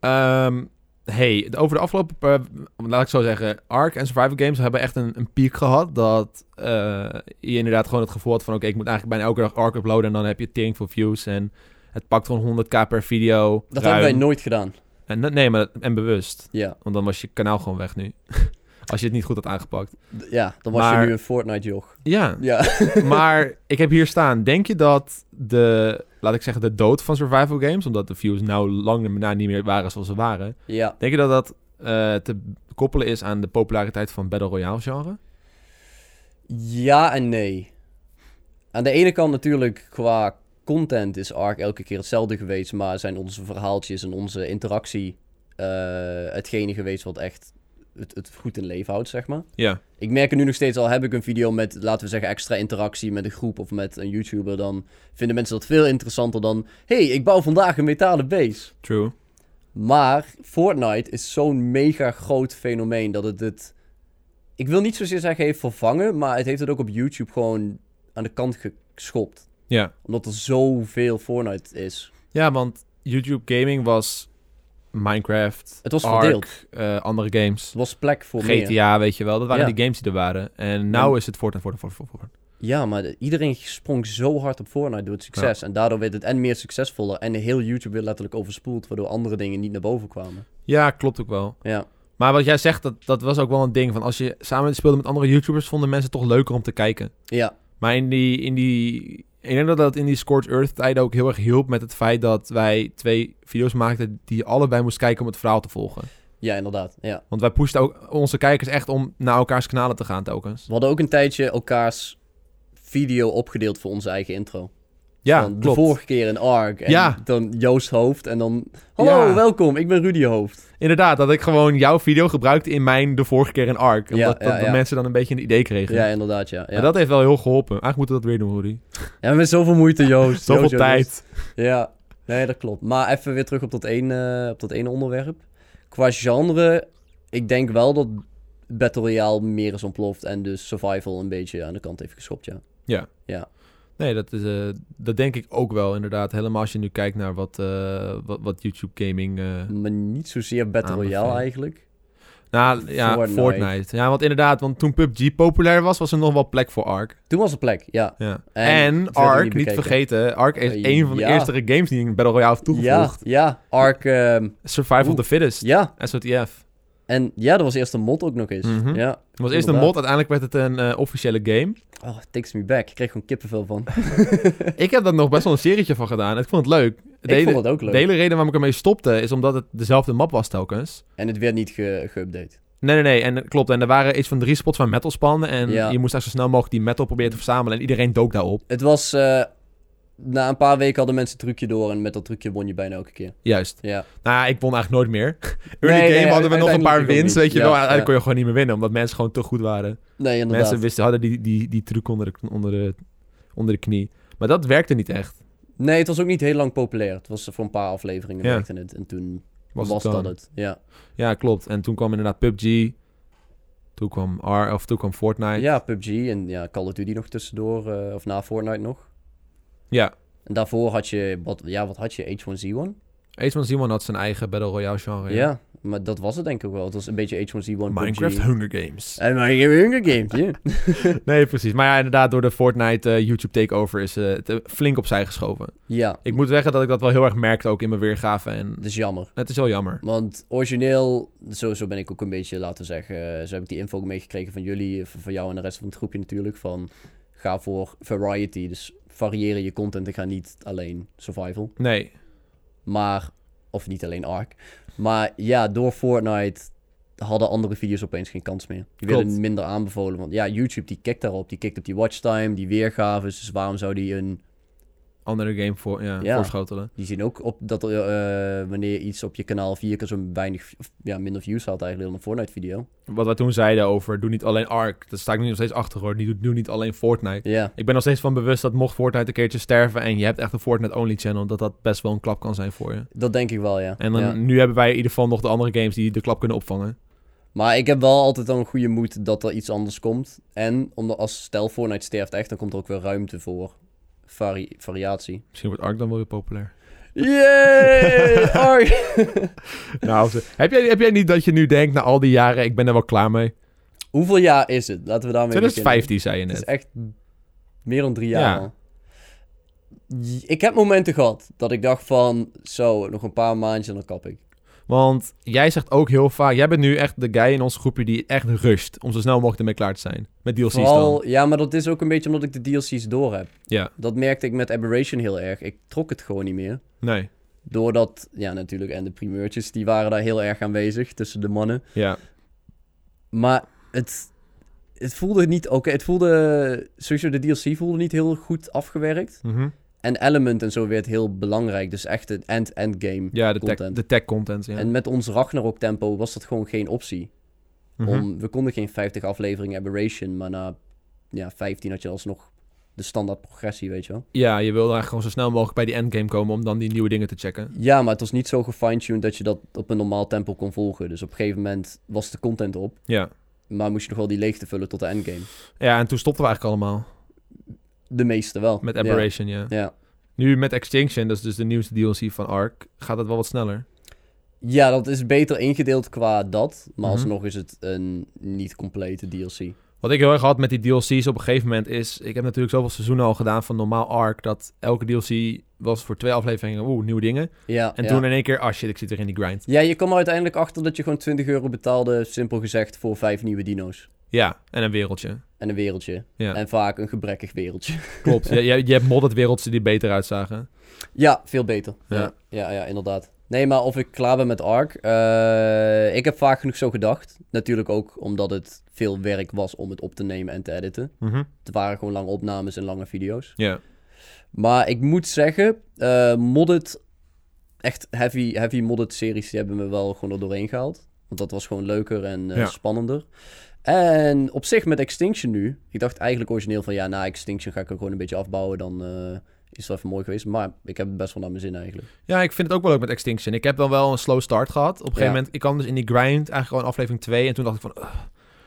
Ehm, hey, de- over de afgelopen... paar- laat ik zo zeggen, Ark en Survival Games hebben echt een, een piek gehad. Dat eh, je inderdaad gewoon het gevoel had van... Oké, ik moet eigenlijk bijna elke dag Ark uploaden. En dan heb je tering veel views. En het pakt gewoon 100k per video.
Dat
ruim.
hebben wij nooit gedaan.
En, nee, maar en bewust.
Ja,
Want dan was je kanaal gewoon weg nu. (laughs) Als je het niet goed had aangepakt.
D- ja dan was
Maar-
je nu een Fortnite-joch.
Ja,
(laughs) Ja.
(laughs) maar ik heb hier staan. Denk je dat de, laat ik zeggen, de dood van survival games... omdat de views nou lang na niet meer waren zoals ze waren...
ja.
Denk je dat dat eh, te koppelen is aan de populariteit van Battle Royale genre?
Ja en nee. Aan de ene kant natuurlijk qua content is Ark elke keer hetzelfde geweest, maar zijn onze verhaaltjes en onze interactie eh, hetgene geweest wat echt het, het goed in leven houdt, zeg maar.
Ja.
Ik merk het nu nog steeds al, heb ik een video met, laten we zeggen, extra interactie met een groep of met een YouTuber, dan vinden mensen dat veel interessanter dan, hey, ik bouw vandaag een metalen base.
True.
Maar Fortnite is zo'n mega groot fenomeen dat het het... Ik wil niet zozeer zeggen heeft vervangen, maar het heeft het ook op YouTube gewoon aan de kant geschopt.
Ja.
Omdat er zoveel Fortnite is.
Ja, want YouTube gaming was Minecraft,
Het was
Ark,
verdeeld.
eh, andere games.
Het was plek voor meer.
GTA, weet je wel. Dat waren
Ja.
die games die er waren. En nou
Ja.
is het Fortnite, Fortnite, Fortnite, Fortnite.
Ja, maar de- iedereen sprong zo hard op Fortnite door het succes. En daardoor werd het en meer succesvoller. En heel YouTube werd letterlijk overspoeld, waardoor andere dingen niet naar boven kwamen.
Ja, klopt ook wel.
Ja.
Maar wat jij zegt, dat, dat was ook wel een ding. Van als je samen speelde met andere YouTubers, vonden mensen het toch leuker om te kijken.
Ja,
Maar in die, in die, ik denk dat dat in die Scorched Earth tijden ook heel erg hielp met het feit dat wij twee video's maakten die je allebei moest kijken om het verhaal te volgen.
ja inderdaad. Ja.
Want wij pushten ook onze kijkers echt om naar elkaars kanalen te gaan telkens.
We hadden ook een tijdje elkaars video opgedeeld voor onze eigen intro.
Ja,
Van De
klopt.
vorige keer een ARC. En
Ja.
dan Joost Hoofd. En dan, hallo,
Ja.
welkom, ik ben Rudy Hoofd.
Inderdaad, dat ik gewoon jouw video gebruikte in mijn de vorige keer in ARC.
Ja,
Omdat
ja,
dat, dat
ja.
mensen dan een beetje een idee kregen.
Ja, inderdaad, ja.
Maar
Ja,
dat heeft wel heel geholpen. Eigenlijk moeten we dat weer doen, Rudy.
ja met zoveel moeite, Joost.
(laughs) Zoveel
Joost, Joost,
tijd.
Ja, nee, dat klopt. Maar even weer terug op dat één, eh, op dat ene onderwerp. Qua genre, ik denk wel dat Battle Royale meer is ontploft en dus Survival een beetje aan de kant heeft geschopt, ja.
Nee, dat, is, eh, dat denk ik ook wel, inderdaad. Helemaal als je nu kijkt naar wat, eh, wat, wat YouTube gaming... eh,
Maar niet zozeer Battle
Aanbeveling.
Royale eigenlijk.
nou, ja,
Fortnite.
Fortnite. Ja, want inderdaad, want toen PUBG populair was, was er nog wel plek voor ARK.
Toen was er plek, ja.
Ja.
En
En,
verder
ARK,
niet
niet,
bekeken.
vergeten, ARK is
Eh,
een van de
ja.
eerste games die in Battle Royale heeft
Ja,
toegevoegd.
ja, Ark, ehm,
Survival of
Oeh.
the Fittest,
ja.
SOTF.
En ja, dat was eerst een mod ook nog eens.
Mhm.
Ja.
Het was eerst een
Inderdaad.
mod, uiteindelijk werd het een eh, officiële
(laughs)
game.
Oh, it takes me back. Ik kreeg gewoon
(laughs)
kippenvel van.
Ik heb daar nog best wel een serietje van gedaan. Ik vond het leuk. De
ik
hele-
vond het ook leuk.
De hele reden waarom ik ermee stopte, is omdat het dezelfde map was telkens.
En het werd niet ge- geüpdate.
Nee, nee, nee. En eh, klopt. En er waren iets van drie spots van metal spannen. En
Ja.
je moest daar zo snel mogelijk die metal proberen te verzamelen. En iedereen dook daarop.
Het was, eh, na een paar weken hadden mensen het trucje door en met dat trucje won je bijna elke keer.
Juist.
Ja.
Nou ja, ik won eigenlijk nooit meer. (laughs) Early
Nee,
game
nee,
hadden we nog een paar
uiteindelijk ook
wins,
niet.
weet je
Ja,
wel. Uiteindelijk
ja.
kon je gewoon niet meer winnen, omdat mensen gewoon te goed waren.
Nee, inderdaad.
Mensen wisten, hadden die, die, die truc onder de, onder, de, onder de knie. Maar dat werkte niet echt.
Nee, het was ook niet heel lang populair. Het was voor een paar afleveringen
Ja.
werkte het. En toen was,
Was,
dat
het dan.
het. Ja,
Ja, klopt. En toen kwam inderdaad PUBG. Toen kwam, R, of toen kwam Fortnite.
ja PUBG en ja, Call of Duty nog tussendoor. eh, of na Fortnite nog.
Ja.
En daarvoor had je, wat, ja, wat had je? H1Z1?
Ace van Simon had zijn eigen Battle Royale genre.
Ja.
Oh, ja.
maar dat was het denk ik ook wel. Het was een beetje H1Z1,
Minecraft
PUBG.
Hunger (laughs) Games.
En Minecraft Hunger Games, ja.
Nee, precies. Maar ja, inderdaad, door de Fortnite eh, YouTube takeover is eh, het eh, flink opzij geschoven.
ja,
Ik moet zeggen dat ik dat wel heel erg merkte ook in mijn weergave. En
dat is jammer.
het is wel jammer.
Want origineel, sowieso ben ik ook een beetje, laten we zeggen, eh, zo heb ik die info ook meegekregen van jullie, eh, van van jou en de rest van het groepje natuurlijk, van ga voor variety, dus variëren je content en ga niet alleen survival,
Nee.
maar, of niet alleen ARK. Maar ja, door Fortnite hadden andere video's opeens geen kans meer. Die
Klopt.
werden minder aanbevolen, want ja, YouTube die kikt daarop, die kikt op die watchtime, die weergaves, dus waarom zou die een...
Andere game voor, ja,
Ja.
voorschotelen.
Die zien ook op dat er, eh, wanneer iets op je kanaal vier keer zo weinig, of, ja, minder views haalt eigenlijk dan een Fortnite video.
Wat wij toen zeiden over, doe niet alleen Ark. Daar sta ik nu nog steeds achter hoor. Doe, doe niet alleen Fortnite.
Ja.
Ik ben nog steeds van bewust dat mocht Fortnite een keertje sterven... en je hebt echt een Fortnite-only channel... dat dat best wel een klap kan zijn voor je.
Dat denk ik wel, ja.
En dan,
Ja.
nu hebben wij in ieder geval nog de andere games... die de klap kunnen opvangen.
Maar ik heb wel altijd al een goede moed dat er iets anders komt. En omdat als stel Fortnite sterft echt, dan komt er ook weer ruimte voor vari-
(laughs)
variatie.
Misschien wordt Ark dan wel weer populair.
Yay! Ark!
(laughs) nou, of ze- heb, jij, heb jij niet dat je nu denkt na al die jaren... ik ben er wel klaar mee?
Hoeveel jaar is het? Laten we daarmee beginnen.
2015 zei je
Het
net.
is echt meer dan drie jaar
Ja.
al. J- Ik heb momenten gehad dat ik dacht van... Zo, nog een paar maandjes en dan kap ik.
Want jij zegt ook heel vaak... Jij bent nu echt de guy in onze groepje die echt rust... om zo snel mogelijk ermee klaar te zijn. Met DLC's dan.
Vooral, ja, maar dat is ook een beetje omdat ik de DLC's door heb.
Ja.
Dat merkte ik met Aberration heel erg. Ik trok het gewoon niet meer.
Nee.
Doordat, ja natuurlijk, en de primeurtjes, die waren daar heel erg aanwezig tussen de mannen.
Ja.
Maar het, het voelde niet oké. Het voelde, sowieso de DLC voelde niet heel goed afgewerkt.
Mhm.
En Element en zo werd heel belangrijk. Dus echt het end-end game.
Ja, de tech,
Content.
de tech content. Ja.
En met ons Ragnarok tempo was dat gewoon geen optie.
Mhm.
Om, we konden geen 50 afleveringen Aberration, maar na ja, 15 had je alsnog de standaard progressie, weet je wel.
Ja, je wil eigenlijk gewoon zo snel mogelijk bij die endgame komen... om dan die nieuwe dingen te checken.
Ja, maar het was niet zo gefine-tuned dat je dat op een normaal tempo kon volgen. Dus op een gegeven moment was de content op.
Ja.
Maar moest je nog wel die leegte vullen tot de endgame?
Ja, en toen stopten we eigenlijk allemaal.
De meeste wel.
Met
Ja.
Aberration, ja.
Ja. ja.
Nu met Extinction, dat is dus de nieuwste DLC van Ark... gaat dat wel wat sneller.
dat is beter ingedeeld qua dat. Maar
Mhm.
alsnog is het een niet complete DLC.
Wat ik heel erg had met die DLC's op een gegeven moment is... Ik heb natuurlijk zoveel seizoenen al gedaan van normaal Ark... dat elke DLC was voor twee afleveringen, oeh, nieuwe dingen.
Ja,
En
ja.
toen in één keer, ah shit, ik zit er in die grind.
Ja, je kwam er uiteindelijk achter dat je gewoon 20 euro betaalde, simpel gezegd, voor vijf nieuwe dino's.
Ja, en een wereldje.
En een wereldje.
Ja.
En vaak een gebrekkig wereldje. (laughs)
Klopt. je, je, je hebt modded wereldjes die beter uitzagen.
Ja, veel beter. Ja.
Ja.
Ja, ja, inderdaad. Nee, maar of ik klaar ben met ARK. eh, ik heb vaak genoeg zo gedacht. Natuurlijk ook omdat het veel werk was om het op te nemen en te editen. Het waren gewoon lange opnames en lange video's.
Mhm. Ja.
Maar ik moet zeggen, eh modded, echt heavy, heavy modded series, die hebben me wel gewoon er doorheen gehaald. Want dat was gewoon leuker en eh,
Ja.
spannender. En op zich met Extinction nu, ik dacht eigenlijk origineel van ja, na Extinction ga ik er gewoon een beetje afbouwen, dan eh, is dat even mooi geweest. Maar ik heb het best wel naar mijn zin eigenlijk.
ja, ik vind het ook wel leuk met Extinction. Ik heb dan wel een slow start gehad. Op een gegeven
Ja.
moment, ik kwam dus in die grind, eigenlijk gewoon aflevering 2. En toen dacht ik van... ugh.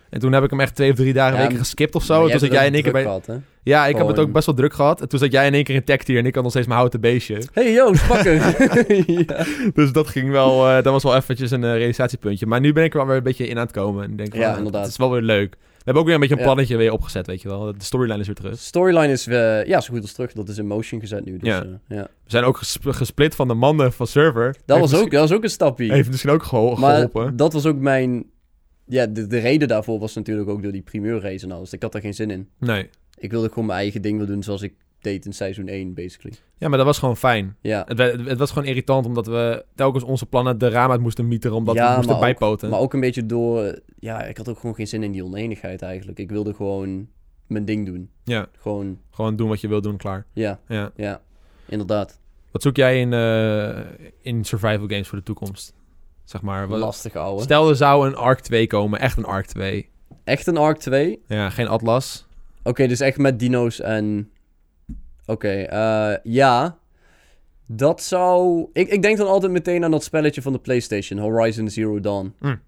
En toen heb ik hem echt twee of drie dagen
Ja,
weken
maar-
geskipt of
Maar
zo. Toen
hebt
zat
het
jij
ook
in één keer
druk
bij...
gehad, hè?
Ja, ik heb het
Gewoon-
ook best wel druk gehad. En toen zat jij in één keer in tech tier en ik had nog steeds mijn houten
(laughs)
beestje.
Hey yo, spakken!
(laughs)
(laughs) ja.
Dus dat ging wel... eh, dat was wel eventjes een eh, realisatiepuntje. Maar nu ben ik er wel weer een beetje in aan het komen. En ik denk van,
Ja,
ah,
inderdaad.
Het is wel weer leuk. We hebben ook weer een beetje een
Ja.
plannetje weer opgezet, weet je wel. De storyline is weer terug.
Storyline is eh, ja, zo goed als terug. Dat is in motion gezet nu. Dus,
Ja.
ja. ja.
We zijn ook gesp- gesplit van de mannen van server.
Dat,
Heeft
was
misschien-
ook, dat was ook een stapje.
Heeft misschien ook gehol-
Maar
geholpen.
dat was ook mijn... Ja, de, de reden daarvoor was natuurlijk ook door die primeurrace en alles. Ik had daar geen zin in.
Nee.
Ik wilde gewoon mijn eigen ding wil doen zoals ik deed in seizoen 1, basically.
Ja, maar dat was gewoon fijn.
Ja,
Het, wa- het was gewoon irritant omdat we telkens onze plannen de raam uit moesten mieteren. Omdat
Ja,
we moesten
maar ook-
bijpoten.
maar ook een beetje door... eh, Ja, ik had ook gewoon geen zin in die oneenigheid eigenlijk. Ik wilde gewoon mijn ding doen.
Ja,
Gewoon,
gewoon doen wat je wil doen, klaar.
ja,
Ja.
ja. Inderdaad.
Wat zoek jij in, eh, in survival games voor de toekomst? Zeg maar. wat-
Lastig, ouwe.
stel er zou een Ark 2 komen. Echt een Ark 2.
Echt een Arc 2?
Ja, geen Atlas.
Oké, dus echt met dino's en... Oké, eh, ja. Dat zou... Ik, ik denk dan altijd meteen aan dat spelletje van de PlayStation, Horizon Zero Dawn.
Mm.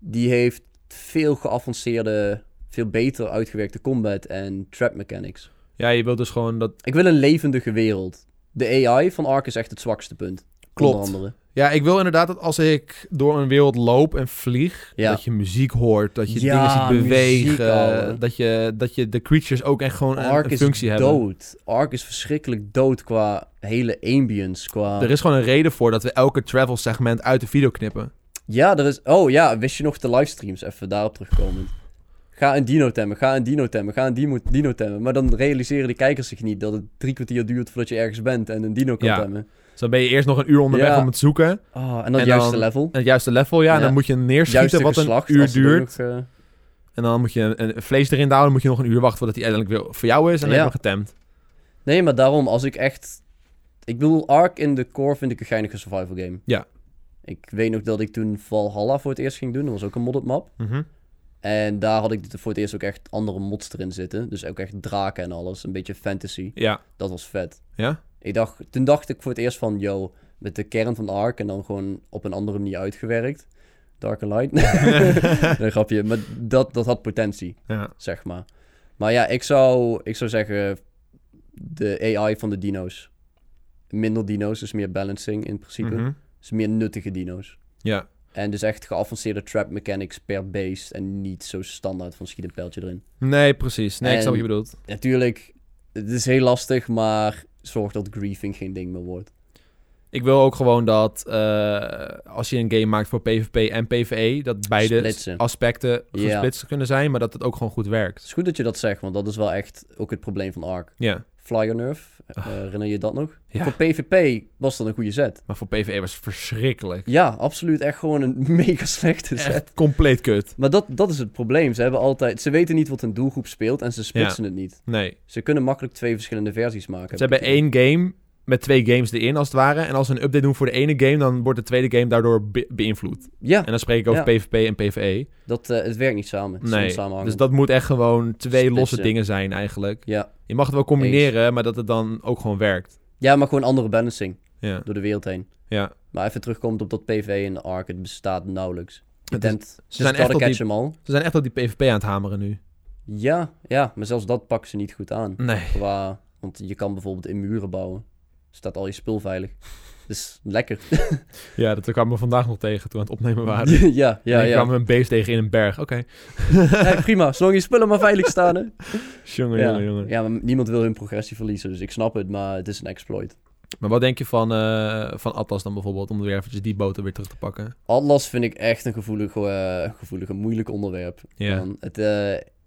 Die heeft veel geavanceerde, veel beter uitgewerkte combat en trap mechanics.
Ja, je wilt dus gewoon dat...
Ik wil een levendige wereld. De AI van Ark is echt het zwakste punt.
Klopt.
Onder andere.
Ja, ik wil inderdaad dat als ik door een wereld loop en vlieg...
Ja.
dat je muziek hoort, dat je
Ja,
dingen ziet
muziek,
bewegen...
ouwe.
dat, je, dat je de creatures ook echt gewoon een,
Ark
een
is
functie
dood.
hebben.
Ark is verschrikkelijk dood qua hele ambience, qua...
Er is gewoon een reden voor dat we elke travel segment uit de video knippen.
Ja, er is. Oh ja, wist je nog de livestreams? Even daarop terugkomen. Ga een dino temmen, ga een dino temmen, ga een dino, dino temmen. Maar dan realiseren de kijkers zich niet dat het drie kwartier duurt voordat je ergens bent en een dino kan
Ja.
temmen.
Dus dan ben je eerst nog een uur onderweg
Ja.
om het zoeken. En
Ah, en dat
En
juiste
dan-
level.
het juiste level, ja. En
Ja.
dan moet je
Juiste
neerschieten wat
geslacht,
een uur
als het ook
duurt.
nog, eh,
En dan moet je een, een vlees erin houden. Dan moet je nog een uur wachten voordat hij uiteindelijk weer voor jou is. En dan
Ja.
heb je hem getemd.
Nee, maar daarom, als ik echt... Ik bedoel, Ark in de core vind ik een geinige survival game.
Ja.
Ik weet nog dat ik toen Valhalla voor het eerst ging doen. Dat was ook een modded map.
Mhm.
En daar had ik voor het eerst ook echt andere mods erin zitten. Dus ook echt draken en alles. Een beetje fantasy.
Ja.
Dat was vet.
Ja?
Ik dacht, toen dacht ik voor het eerst van, yo, met de kern van Ark en dan gewoon op een andere manier uitgewerkt. Dark and Light. (laughs) nee, grapje. Maar dat, dat had potentie,
ja.
zeg maar. Maar ja, ik zou, ik zou zeggen, de AI van de dino's. Minder dino's, dus meer balancing in principe.
Mhm.
Dus meer nuttige dino's.
Ja.
En dus echt geavanceerde trap mechanics per beest en niet zo standaard van schiet een pijltje erin.
Nee, precies. Nee, ik snap
En-
wat je bedoelt.
Natuurlijk, het is heel lastig, maar zorg dat griefing geen ding meer wordt.
Ik wil ook gewoon dat eh, als je een game maakt voor PvP en PvE... dat beide
Splitsen.
aspecten
Ja.
gesplitst kunnen zijn. Maar dat het ook gewoon goed
Het
werkt.
is goed dat je dat zegt, want dat is wel echt ook het probleem van Ark.
Ja.
Flyer Nerf, eh, herinner je dat nog?
Ah. Ja.
Voor PvP was dat een goede zet.
Maar voor PvE was het verschrikkelijk.
Ja, absoluut echt gewoon een (laughs) mega slechte zet.
Echt compleet kut.
Maar dat, dat is het probleem. Ze hebben altijd... Ze weten niet wat hun doelgroep speelt en ze splitsen het niet.
Nee.
Ze kunnen makkelijk twee verschillende versies maken.
Ze hebben één game met twee games erin, als het ware. En als ze een update doen voor de ene game, dan wordt de tweede game daardoor be- beïnvloed.
Ja,
En dan spreek ik over PvP en PvE.
dat, eh, het werkt niet samen. Het is
Nee,
onsamenhangend.
dus dat moet echt gewoon twee
Splitsen.
losse dingen zijn eigenlijk.
Ja.
Je mag het wel combineren, maar dat het dan ook gewoon werkt.
ja, maar gewoon andere balancing
Ja,
door de wereld heen.
ja.
Maar even terugkomt op dat PvE en Ark, het bestaat nauwelijks. dus Je
Het is-
dempt,
ze, zijn echt
catch
op die,
them all.
ze zijn echt op die PvP aan het hameren nu.
Ja, ja, maar zelfs dat pakken ze niet goed aan.
Nee.
Qua, want je kan bijvoorbeeld in muren bouwen. Staat al je spul veilig. Dus lekker.
Ja, dat kwamen we vandaag nog tegen toen we aan het opnemen waren.
ja, (laughs) ja, ja.
En Ah, ik kwam een beest tegen in een berg. Oké.
Hey, prima, zolang je spullen maar veilig staan. Hè?
(laughs) Jongen,
ja.
jongen, jongen.
ja, maar niemand wil hun progressie verliezen, dus ik snap het, maar het is een exploit.
Maar wat denk je van, eh, van Atlas dan bijvoorbeeld? Om weer eventjes die boter weer terug te pakken.
Atlas vind ik echt een gevoelig, eh, gevoelig en moeilijk onderwerp.
Ja.
Want Het, eh,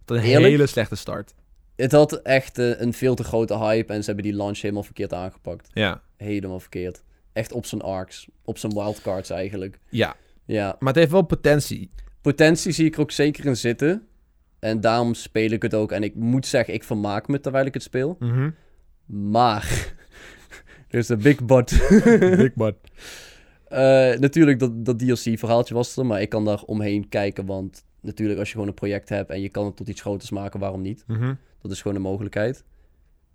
Dat een
Eerlijk?
hele slechte start.
het had echt eh, een veel te grote hype en ze hebben die launch helemaal verkeerd aangepakt.
Ja.
Helemaal verkeerd. Echt op zijn arcs, op zijn wildcards eigenlijk.
Ja,
Ja,
maar het heeft wel potentie.
potentie zie ik er ook zeker in zitten. En daarom speel ik het ook. En ik moet zeggen, ik vermaak me terwijl ik het speel.
Mhm.
Maar, (laughs) dus de big but. (laughs)
Big bad.
Eh, natuurlijk, dat, dat DLC-verhaaltje was er, maar ik kan daar omheen kijken. Want natuurlijk, als je gewoon een project hebt en je kan het tot iets groters maken, waarom niet?
Mhm.
Dat is gewoon een mogelijkheid.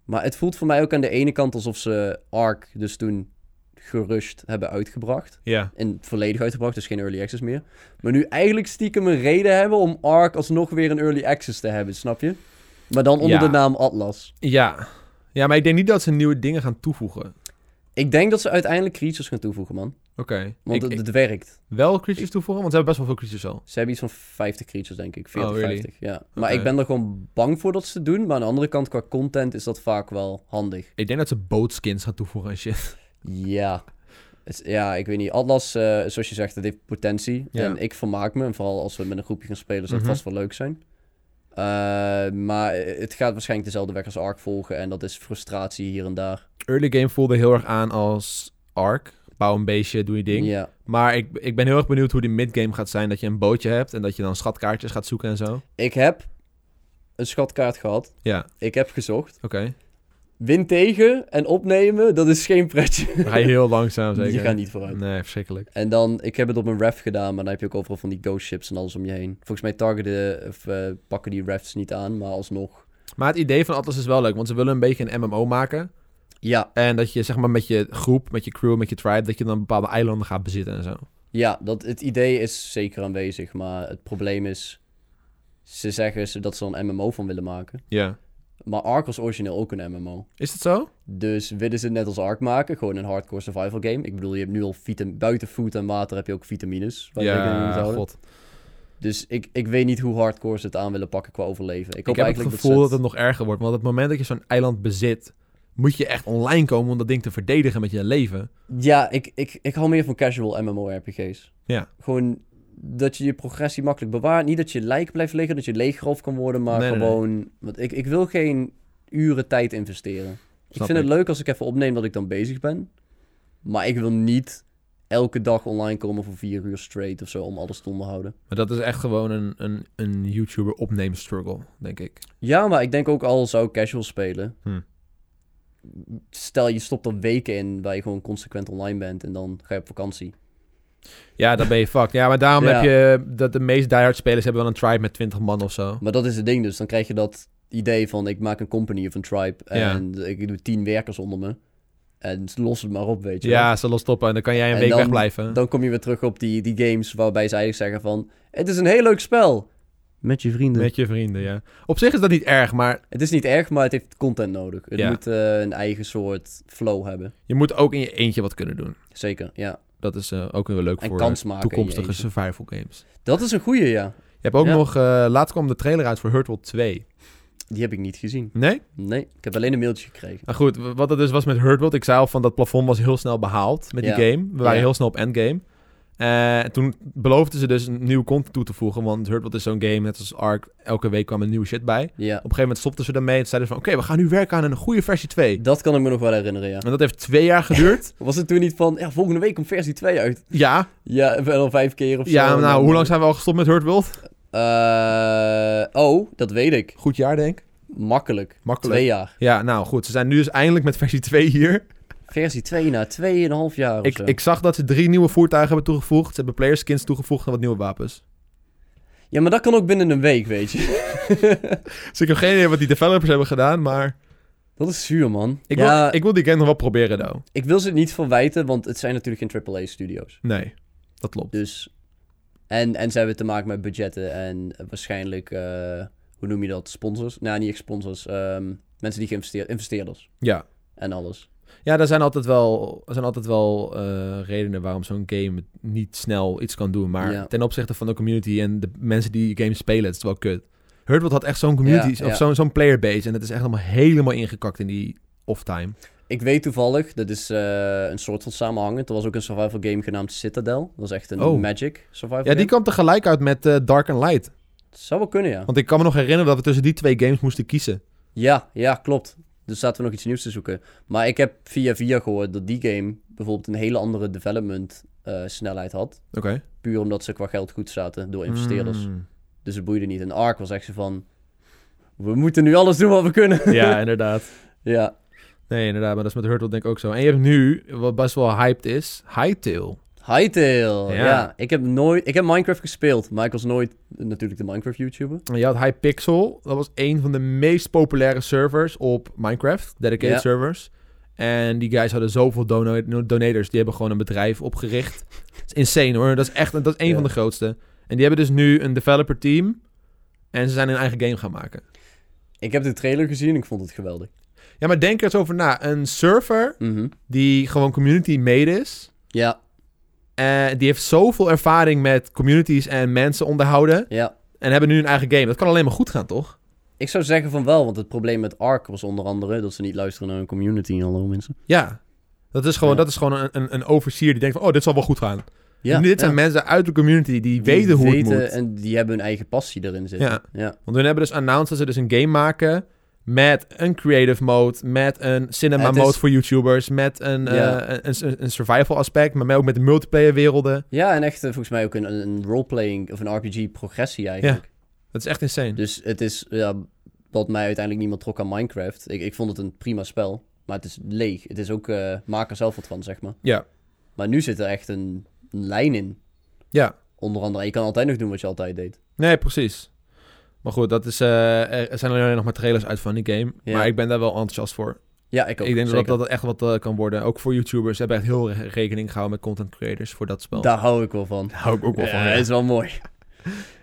Maar het voelt voor mij ook aan de ene kant alsof ze Ark dus toen gerust hebben uitgebracht.
Ja.
En volledig uitgebracht, dus geen early access meer. Maar nu eigenlijk stiekem een reden hebben om Ark alsnog weer een early access te hebben, snap je? Maar dan onder
Ja.
de naam Atlas.
ja. Ja, maar ik denk niet dat ze nieuwe dingen gaan toevoegen. Oké.
Ik denk dat ze uiteindelijk creatures gaan toevoegen, man. Want
Ik-
het,
ik-
het werkt.
wel creatures toevoegen, want ze hebben best wel veel creatures al.
Ze hebben iets van 50 creatures, denk ik. 40,
Oh, really?
50, ja. Maar
Oké.
ik ben er gewoon bang voor dat ze het doen. Maar aan de andere kant, qua content is dat vaak wel handig.
Ik denk dat ze bootskins gaan toevoegen en shit.
Ja. Het is- ja, ik weet niet. Atlas, eh, zoals je zegt, dat heeft potentie.
Ja.
En ik vermaak me. En vooral als we met een groepje gaan spelen, zou het
Mhm.
vast wel leuk zijn. Eh, maar het gaat waarschijnlijk dezelfde weg als Ark volgen. En dat is frustratie hier en daar.
(laughs) Early game voelde heel erg aan als Ark. Bouw een beestje, doe je ding.
Ja.
Maar ik, ik ben heel erg benieuwd hoe die midgame gaat zijn. Dat je een bootje hebt en dat je dan schatkaartjes gaat zoeken en zo.
Ik heb een schatkaart gehad.
Ja,
Ik heb gezocht.
oké.
Win tegen en opnemen, dat is geen pretje.
Dan ga je heel
(laughs)
langzaam zeker.
Je gaat niet vooruit.
Nee, verschrikkelijk.
En dan, ik heb het op een ref gedaan, maar dan heb je ook overal van die ghost ships en alles om je heen. Volgens mij targeten of eh, pakken die refs niet aan, maar alsnog.
Maar het idee van Atlas is wel leuk, want ze willen een beetje een MMO maken.
Ja,
En dat je zeg maar met je groep, met je crew, met je tribe, dat je dan bepaalde eilanden gaat bezitten en zo.
ja dat, het idee is zeker aanwezig, maar het probleem is, ze zeggen ze dat ze er een MMO van willen maken.
Ja.
Maar Ark was origineel ook een MMO.
Is dat zo?
Dus willen ze het net als Ark maken, gewoon een hardcore survival game. Ik bedoel, je hebt nu al vitam- buiten food en water heb je ook vitamines. waar je rekening mee moet houden.
god.
Dus ik, ik weet niet hoe hardcore ze het aan willen pakken qua overleven. Ik
Ik
hoop
heb het
eigenlijk
gevoel dat
ze
het nog erger wordt. Want op het moment dat je zo'n eiland bezit, moet je echt online komen om dat ding te verdedigen met je leven.
Ja, ik, ik, ik hou meer van casual MMORPG's.
Ja.
Gewoon dat je je progressie makkelijk bewaart. Niet dat je lijk blijft liggen, dat je leeggeroofd kan worden, maar
Nee, nee, nee.
gewoon... Want ik, ik wil geen uren tijd investeren.
Snap
ik vind
ik.
het leuk als ik even opneem dat ik dan bezig ben. Maar ik wil niet elke dag online komen voor vier uur straight of zo om alles te onderhouden.
Maar dat is echt gewoon een, een, een YouTuber opnemen struggle, denk ik.
Ja, maar ik denk ook al zou ik casual spelen.
Hm.
Stel, je stopt er weken in waar je gewoon consequent online bent en dan ga je op vakantie.
Ja, dan ben je fucked. Ja, maar daarom
Ja.
heb je dat de meest diehard spelers hebben wel een tribe met 20 man of zo.
Maar dat is het ding dus. Dan krijg je dat idee van ik maak een company of een tribe en ik doe tien werkers onder me. En los het maar op, weet je.
Ja, ze lost op en dan kan jij een
En
week
dan-
wegblijven.
wel. Dan kom je weer terug op die, die games waarbij ze eigenlijk zeggen van het is een heel leuk spel. Met je vrienden.
Met je vrienden, ja. Op zich is dat niet erg, maar
Het is niet erg, maar het heeft content nodig. Het
Ja.
moet eh, een eigen soort flow hebben.
je moet ook in je eentje wat kunnen doen.
Zeker, ja.
Dat is eh, ook weer leuk
En
voor
kans maken. in je
toekomstige
eentje.
survival games.
Dat is een goeie, ja.
Je hebt ook
Ja.
nog... eh laatst kwam de trailer uit voor Hurtwell 2.
Die heb ik niet gezien.
Nee?
Nee, ik heb alleen een mailtje gekregen.
Nou goed, w- wat het dus was met Hurtworld. Ik zei al van dat plafond was heel snel behaald met
Ja.
die game. We waren
Ja.
heel snel op endgame. Eh, toen beloofden ze dus een nieuwe content toe te voegen. Want Hurtworld is zo'n game, net als Ark. Elke week kwam er nieuwe shit bij. Op een
Ja,
gegeven moment stopten ze ermee. En zeiden ze van, oké, we gaan nu werken aan een goede versie 2.
dat kan ik me nog wel herinneren, ja.
En dat heeft twee jaar
(laughs)
geduurd.
Was het toen niet van, ja, volgende week komt versie 2 uit?
ja,
Ja, wel vijf keer of zo.
ja,
En dan-
nou, hoe lang zijn we al gestopt met Hurtworld?
Eh, oh, dat weet ik.
Goed jaar, denk ik.
Makkelijk.
Makkelijk.
Twee jaar.
Ja, nou goed. Ze zijn nu dus eindelijk met versie 2 hier.
Versie 2 na 2,5 jaar of
Ik,
zo.
ik zag dat ze drie nieuwe voertuigen hebben toegevoegd. Ze hebben player skins toegevoegd en wat nieuwe wapens.
Ja, maar dat kan ook binnen een week, weet je. (laughs)
Dus ik heb geen idee wat die developers hebben gedaan, maar...
Dat is zuur, man.
Ik,
ja,
wil, ik wil die game nog wel proberen, though.
ik wil ze het niet verwijten, want het zijn natuurlijk geen AAA-studio's.
Nee, dat klopt.
Dus... En, en ze hebben te maken met budgetten en waarschijnlijk... eh, hoe noem je dat? Sponsors? Nou, niet echt sponsors. ehm, mensen die geïnvesteerd... Investeerders.
Ja,
En alles.
ja er zijn altijd wel, er zijn altijd wel eh, redenen waarom zo'n game niet snel iets kan doen. Maar
Ja.
ten opzichte van de community en de mensen die die game spelen, het is wel kut. Hurtworld had echt zo'n community,
Ja,
of
ja.
zo'n zo'n playerbase. En het is echt allemaal helemaal ingekakt in die off-time.
Ik weet toevallig, dat is eh, een soort van samenhangend. Er was ook een survival game genaamd Citadel. Dat is echt een
Oh.
Magic survival
Ja, die
game.
kwam tegelijk uit met eh, Dark and Light.
Zou wel kunnen, ja.
Want ik kan me nog herinneren dat we tussen die twee games moesten kiezen.
Ja, ja, klopt. Dus zaten we nog iets nieuws te zoeken. Maar ik heb via via gehoord dat die game bijvoorbeeld een hele andere development eh, snelheid had.
Oké.
Puur omdat ze qua geld goed zaten door investeerders.
Mm.
Dus het boeide niet. En Ark was echt zo van... We moeten nu alles doen wat we kunnen.
Ja, inderdaad.
(laughs) ja.
Nee, inderdaad. Maar dat is met Hurtle denk ik ook zo. En je hebt nu, wat best wel hyped is, Hytale.
Hytale.
Ja.
Ja. Ik heb nooit... Ik heb Minecraft gespeeld. Maar ik was nooit eh, natuurlijk de Minecraft-YouTuber.
En Je had Hypixel. Dat was een van de meest populaire servers op Minecraft. Dedicated
Ja.
servers. En die guys hadden zoveel dono- donators. Die hebben gewoon een bedrijf
(laughs)
opgericht. Dat is insane hoor. Dat is echt dat is een
Ja.
van de grootste. En die hebben dus nu een developer team. En ze zijn hun eigen game gaan maken.
Ik heb de trailer gezien en ik vond het geweldig.
Ja, maar denk er eens over na. Een server
Mhm.
die gewoon community made is.
Ja,
En die heeft zoveel ervaring met communities en mensen onderhouden.
ja.
En hebben nu een eigen game. Dat kan alleen maar goed gaan, toch?
Ik zou zeggen van wel, want het probleem met Ark was onder andere dat ze niet luisteren naar hun community en alle mensen.
Ja. Dat is gewoon,
Ja.
dat is gewoon een, een, een overseer die denkt van... Oh, dit zal wel goed gaan.
Ja,
En dit zijn
ja.
mensen uit de community die
Die
weten hoe
weten
het moet.
En die hebben hun eigen passie erin zitten.
Ja.
Ja.
Want hun hebben dus announced dat ze dus een game maken... met een creative mode, met een cinema
Het is-
mode voor YouTubers... met een, eh,
Ja.
een, een, een survival aspect, maar ook met multiplayer werelden.
ja, en echt eh, volgens mij ook een, een roleplaying of een RPG-progressie eigenlijk.
Dat is echt insane.
Dus het is ja, wat mij uiteindelijk niemand trok aan Minecraft. Ik, ik vond het een prima spel, maar het is leeg. Het is ook, eh maak er zelf wat van, zeg maar.
Ja.
Maar nu zit er echt een, een lijn in.
Ja.
Onder andere, je kan altijd nog doen wat je altijd deed.
Nee, precies. Maar goed, dat is, eh, er zijn alleen nog maar trailers uit van die game.
Ja.
Maar ik ben daar wel enthousiast voor.
Ja, ik ook.
ik denk dat
zeker.
dat dat echt wat eh, kan worden. Ook voor YouTubers. Ze hebben echt heel re- rekening gehouden met content creators voor dat spel.
Daar hou ik wel van.
Daar hou ik ook wel van.
Ja,
ja.
is wel mooi.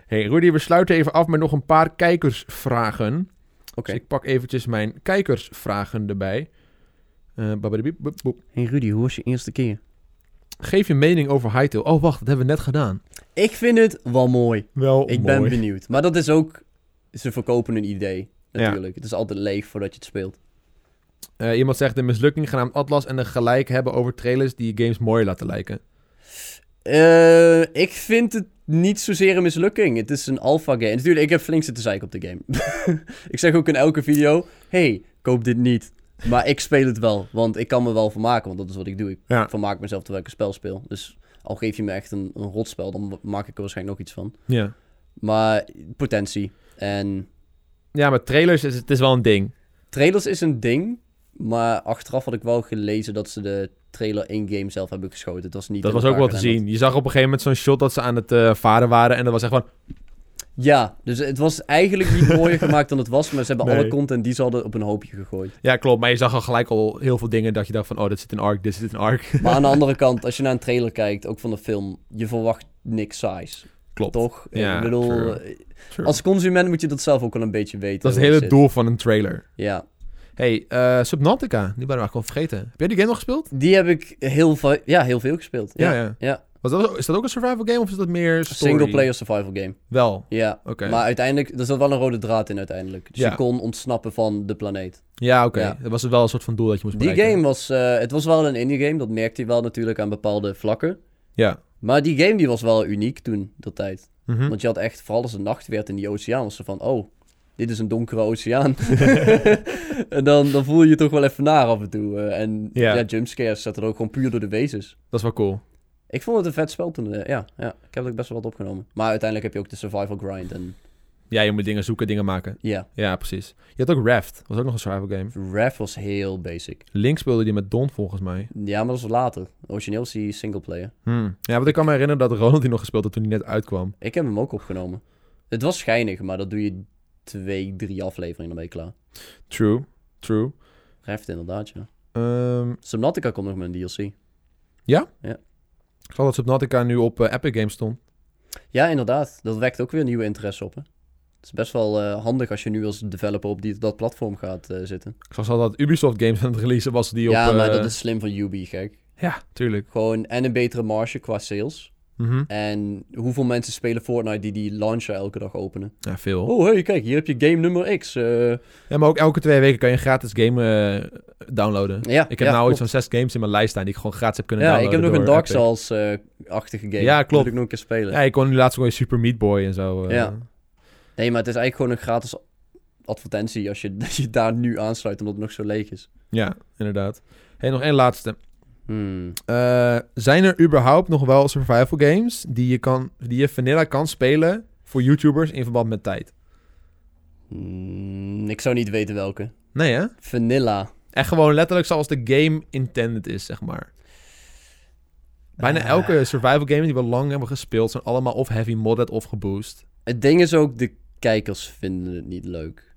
Hey, Rudy, we sluiten even af met nog een paar kijkersvragen.
Oké.
Dus ik pak eventjes mijn kijkersvragen erbij. Eh, babadibiep, boep, boep.
Hey Rudy, hoe was je eerste keer?
Geef je mening over Hytale. Oh, wacht, dat hebben we net gedaan.
Ik vind het wel Oh, mooi.
Wel
ik ben benieuwd. Maar dat is ook... Ze verkopen een idee,
Ja.
natuurlijk. Het is altijd leeg voordat je het speelt.
Eh, iemand zegt de mislukking genaamd Atlas en de gelijk hebben over trailers die games mooi laten lijken.
Eh, ik vind het niet zozeer een mislukking. Het is een alpha game. Natuurlijk, ik heb flink zitten zeiken op de game. (laughs) ik zeg ook in elke video... Hey, koop dit niet. Maar ik speel het wel. Want ik kan me wel vermaken. Want dat is wat ik doe. Ik
Ja.
vermaak mezelf terwijl ik een spel speel. Dus al geef je me echt een, een rotspel... dan maak ik er waarschijnlijk nog iets van.
Ja.
Maar potentie. En
Ja, maar trailers is het is wel een ding.
trailers is een ding. Maar achteraf had ik wel gelezen dat ze de trailer in game zelf hebben geschoten. Het was niet
Dat
in
was ook wel
elkaar
te
gerenderd.
zien. Je zag op een gegeven moment zo'n shot dat ze aan het eh, varen waren. En dat was echt van.
Ja, dus het was eigenlijk
(laughs)
niet mooier gemaakt dan het was. Maar ze hebben
Nee.
alle content die ze hadden op een hoopje gegooid.
Ja, klopt. Maar je zag al gelijk al heel veel dingen dat je dacht van. Oh, dit zit in Ark, dit zit in Ark. (laughs)
Maar aan de andere kant, als je naar een trailer kijkt, ook van de film, je verwacht niks saais.
Klopt.
Toch?
Ja,
ik bedoel,
true.
eh,
True.
als consument moet je dat zelf ook wel een beetje weten.
dat is het
hoe
hele
zit.
doel van een trailer.
Ja.
Hey, eh, Subnautica. Die waren we eigenlijk al vergeten. Heb jij die game nog gespeeld?
Die heb ik heel, va- ja, heel veel gespeeld. Ja.
ja.
ja.
Was dat, is dat ook een survival game of is dat meer story?
Single player survival game.
Wel, oké.
Ja. Maar uiteindelijk, er zat wel een rode draad in uiteindelijk. Dus
Ja.
je kon ontsnappen van de planeet.
Ja, oké.
Ja.
Dat was wel een soort van doel dat je moest
Die
bereiken.
game was, eh, het was wel een indie game, dat merkte je wel natuurlijk aan bepaalde vlakken.
Ja.
Maar die game die was wel uniek toen, dat tijd.
Mhm.
Want je had echt, vooral als het nacht werd in die oceaan, was ze van, oh, dit is een donkere
(laughs)
oceaan. (laughs) en dan, dan voel je je toch wel even naar af en toe. eh, en
Ja.
ja. jumpscares zaten er ook gewoon puur door de wezens.
Dat is wel cool.
Ik vond het een vet spel toen, eh, ja, ja. Ik heb er ook best wel wat opgenomen. Maar uiteindelijk heb je ook de survival grind en,
Ja, je moet dingen zoeken, dingen maken.
ja.
Ja, precies. Je had ook Raft. was ook nog een survival game.
Ref was heel basic.
Link speelde die met Don volgens mij.
Ja, maar dat was later. Origineel is die singleplayer.
Hmm. Ja, want ik kan me herinneren dat Ronald die nog gespeeld had toen hij net uitkwam.
Ik heb hem ook opgenomen. Het was schijnig, maar dat doe je twee, drie afleveringen, dan ben je klaar.
True, true.
Reft inderdaad, ja.
Ehm,
Subnautica komt nog met een DLC.
ik zag dat Subnautica nu op eh, Epic Games stond.
Ja, inderdaad. Dat wekt ook weer nieuwe interesse op. Hè? Het is best wel eh, handig als je nu als developer op die, dat platform gaat eh, zitten.
Ik zag al dat Ubisoft Games (laughs) aan het releasen was die op...
ja, maar
eh,
dat is slim van Ubi, gek.
Ja, tuurlijk.
Gewoon en een betere marge qua sales.
Mhm.
En hoeveel mensen spelen Fortnite die die launcher elke dag openen?
Ja, veel.
Oh, hey, kijk, hier heb je game nummer X. eh,
Ja, maar ook elke twee weken kan je een gratis game eh, downloaden.
ja,
Ik heb
ja,
nou
klopt.
iets van zes games in mijn lijst staan die ik gewoon gratis heb kunnen
Ja, ik heb
downloaden.
nog een
door
Dark
Epic.
Souls-achtige game.
Ja, klopt.
Moet ik nog een keer spelen.
Ja, ik kon nu laatst gewoon Super Meat Boy en zo. eh.
Ja. Nee, maar het is eigenlijk gewoon een gratis advertentie als je, (laughs) als je daar nu aansluit omdat het nog zo leeg is.
Ja, inderdaad. Hey, nog één laatste.
Hmm.
Eh, zijn er überhaupt nog wel survival games die je, kan, die je vanilla kan spelen voor YouTubers in verband met tijd?
Hmm, ik zou niet weten welke.
Nee, hè?
Vanilla.
Echt gewoon letterlijk zoals de game intended is, zeg maar. Bijna
Eh.
elke survival game die we lang hebben gespeeld... zijn allemaal of heavy modded of geboost.
Het ding is ook, de kijkers vinden het niet leuk.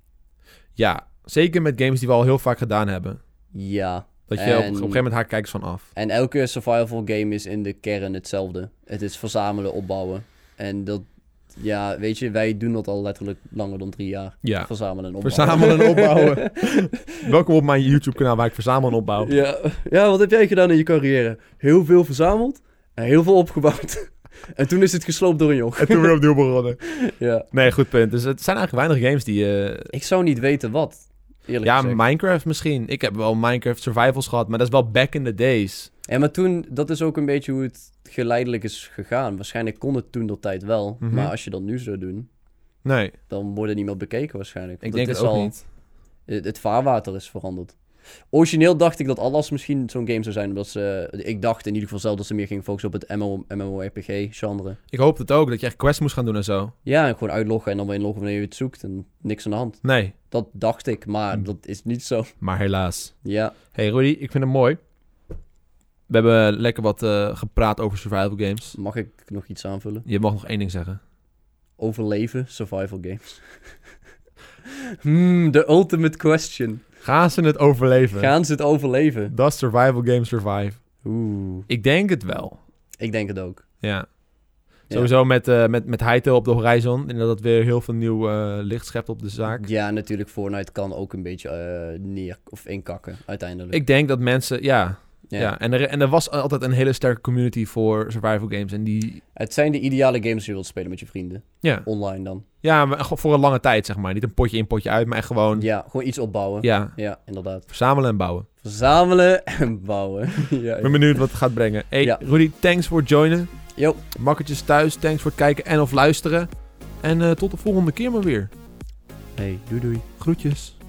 Ja, zeker met games die we al heel vaak gedaan hebben.
Ja.
Dat je op, op
En-
een gegeven moment haar kijkers van af.
En elke survival game is in de kern hetzelfde. Het is verzamelen, opbouwen. En dat, ja, weet je, wij doen dat al letterlijk langer dan drie jaar.
Ja.
Verzamelen en opbouwen.
Verzamelen en
(laughs)
opbouwen. Welkom op mijn YouTube-kanaal waar ik verzamel en opbouw.
Ja. ja, wat heb jij gedaan in je carrière? Heel veel verzameld en heel veel opgebouwd. (laughs) en toen is het gesloopt door een joch.
En toen weer opnieuw begonnen.
Ja.
Nee, goed punt. Dus het zijn eigenlijk weinig games die... eh,
Ik zou niet weten wat, eerlijk
ja,
gezegd.
Minecraft misschien. Ik heb wel Minecraft Survivals gehad, maar dat is wel back in the days.
En maar toen, dat is ook een beetje hoe het geleidelijk is gegaan. Waarschijnlijk kon het toen dat tijd wel.
Mhm.
Maar als je dat nu zou doen,
Nee,
dan wordt het niet meer bekeken waarschijnlijk.
ik
Want
denk
het
het
is
ook
al,
niet.
Het, het vaarwater is veranderd. Origineel dacht ik dat Atlas misschien zo'n game zou zijn. Omdat ze, ik dacht in ieder geval zelf dat ze meer gingen focussen op het MMO, MMORPG-genre.
Ik hoop het ook, dat je echt quests moest gaan doen en zo.
Ja, en gewoon uitloggen en dan weer inloggen wanneer je het zoekt. En niks aan de hand.
Nee,
Dat dacht ik,
Hm.
maar dat is niet zo. (laughs)
maar helaas.
Ja,
Hey Rudy, ik vind het mooi. We hebben lekker wat eh, gepraat over survival games.
mag ik nog iets aanvullen?
Je mag nog één ding zeggen.
Overleven, survival games. (laughs) Hmm, the ultimate question.
Gaan ze het overleven?
Gaan ze het overleven?
Dat survival game survive.
Oeh,
Ik denk het wel.
ik denk het ook.
Ja.
Ja.
Sowieso met, eh met, met Hytale op de horizon. En dat het weer heel veel nieuw eh, licht schept op de zaak.
Ja, natuurlijk, Fortnite kan ook een beetje eh, neer of inkakken uiteindelijk.
Ik denk dat mensen, ja. ja.
Ja.
En, er, en er was altijd een hele sterke community voor survival games. En die,
Het zijn de ideale games die je wilt spelen met je vrienden.
ja.
Online dan.
Ja, maar gewoon voor een lange tijd zeg maar. Niet een potje in, potje uit, maar echt gewoon, ja.
Ja, gewoon iets opbouwen. Ja, inderdaad.
Verzamelen en bouwen.
Verzamelen (laughs) en bouwen. ja,
Ik
ja.
ben benieuwd wat het gaat brengen. Hey,
Ja.
Rudy, thanks voor het joinen.
Yo,
Makkertjes thuis, thanks voor het kijken en of luisteren. En eh, tot de volgende keer maar weer.
hey, doei doei.
Groetjes.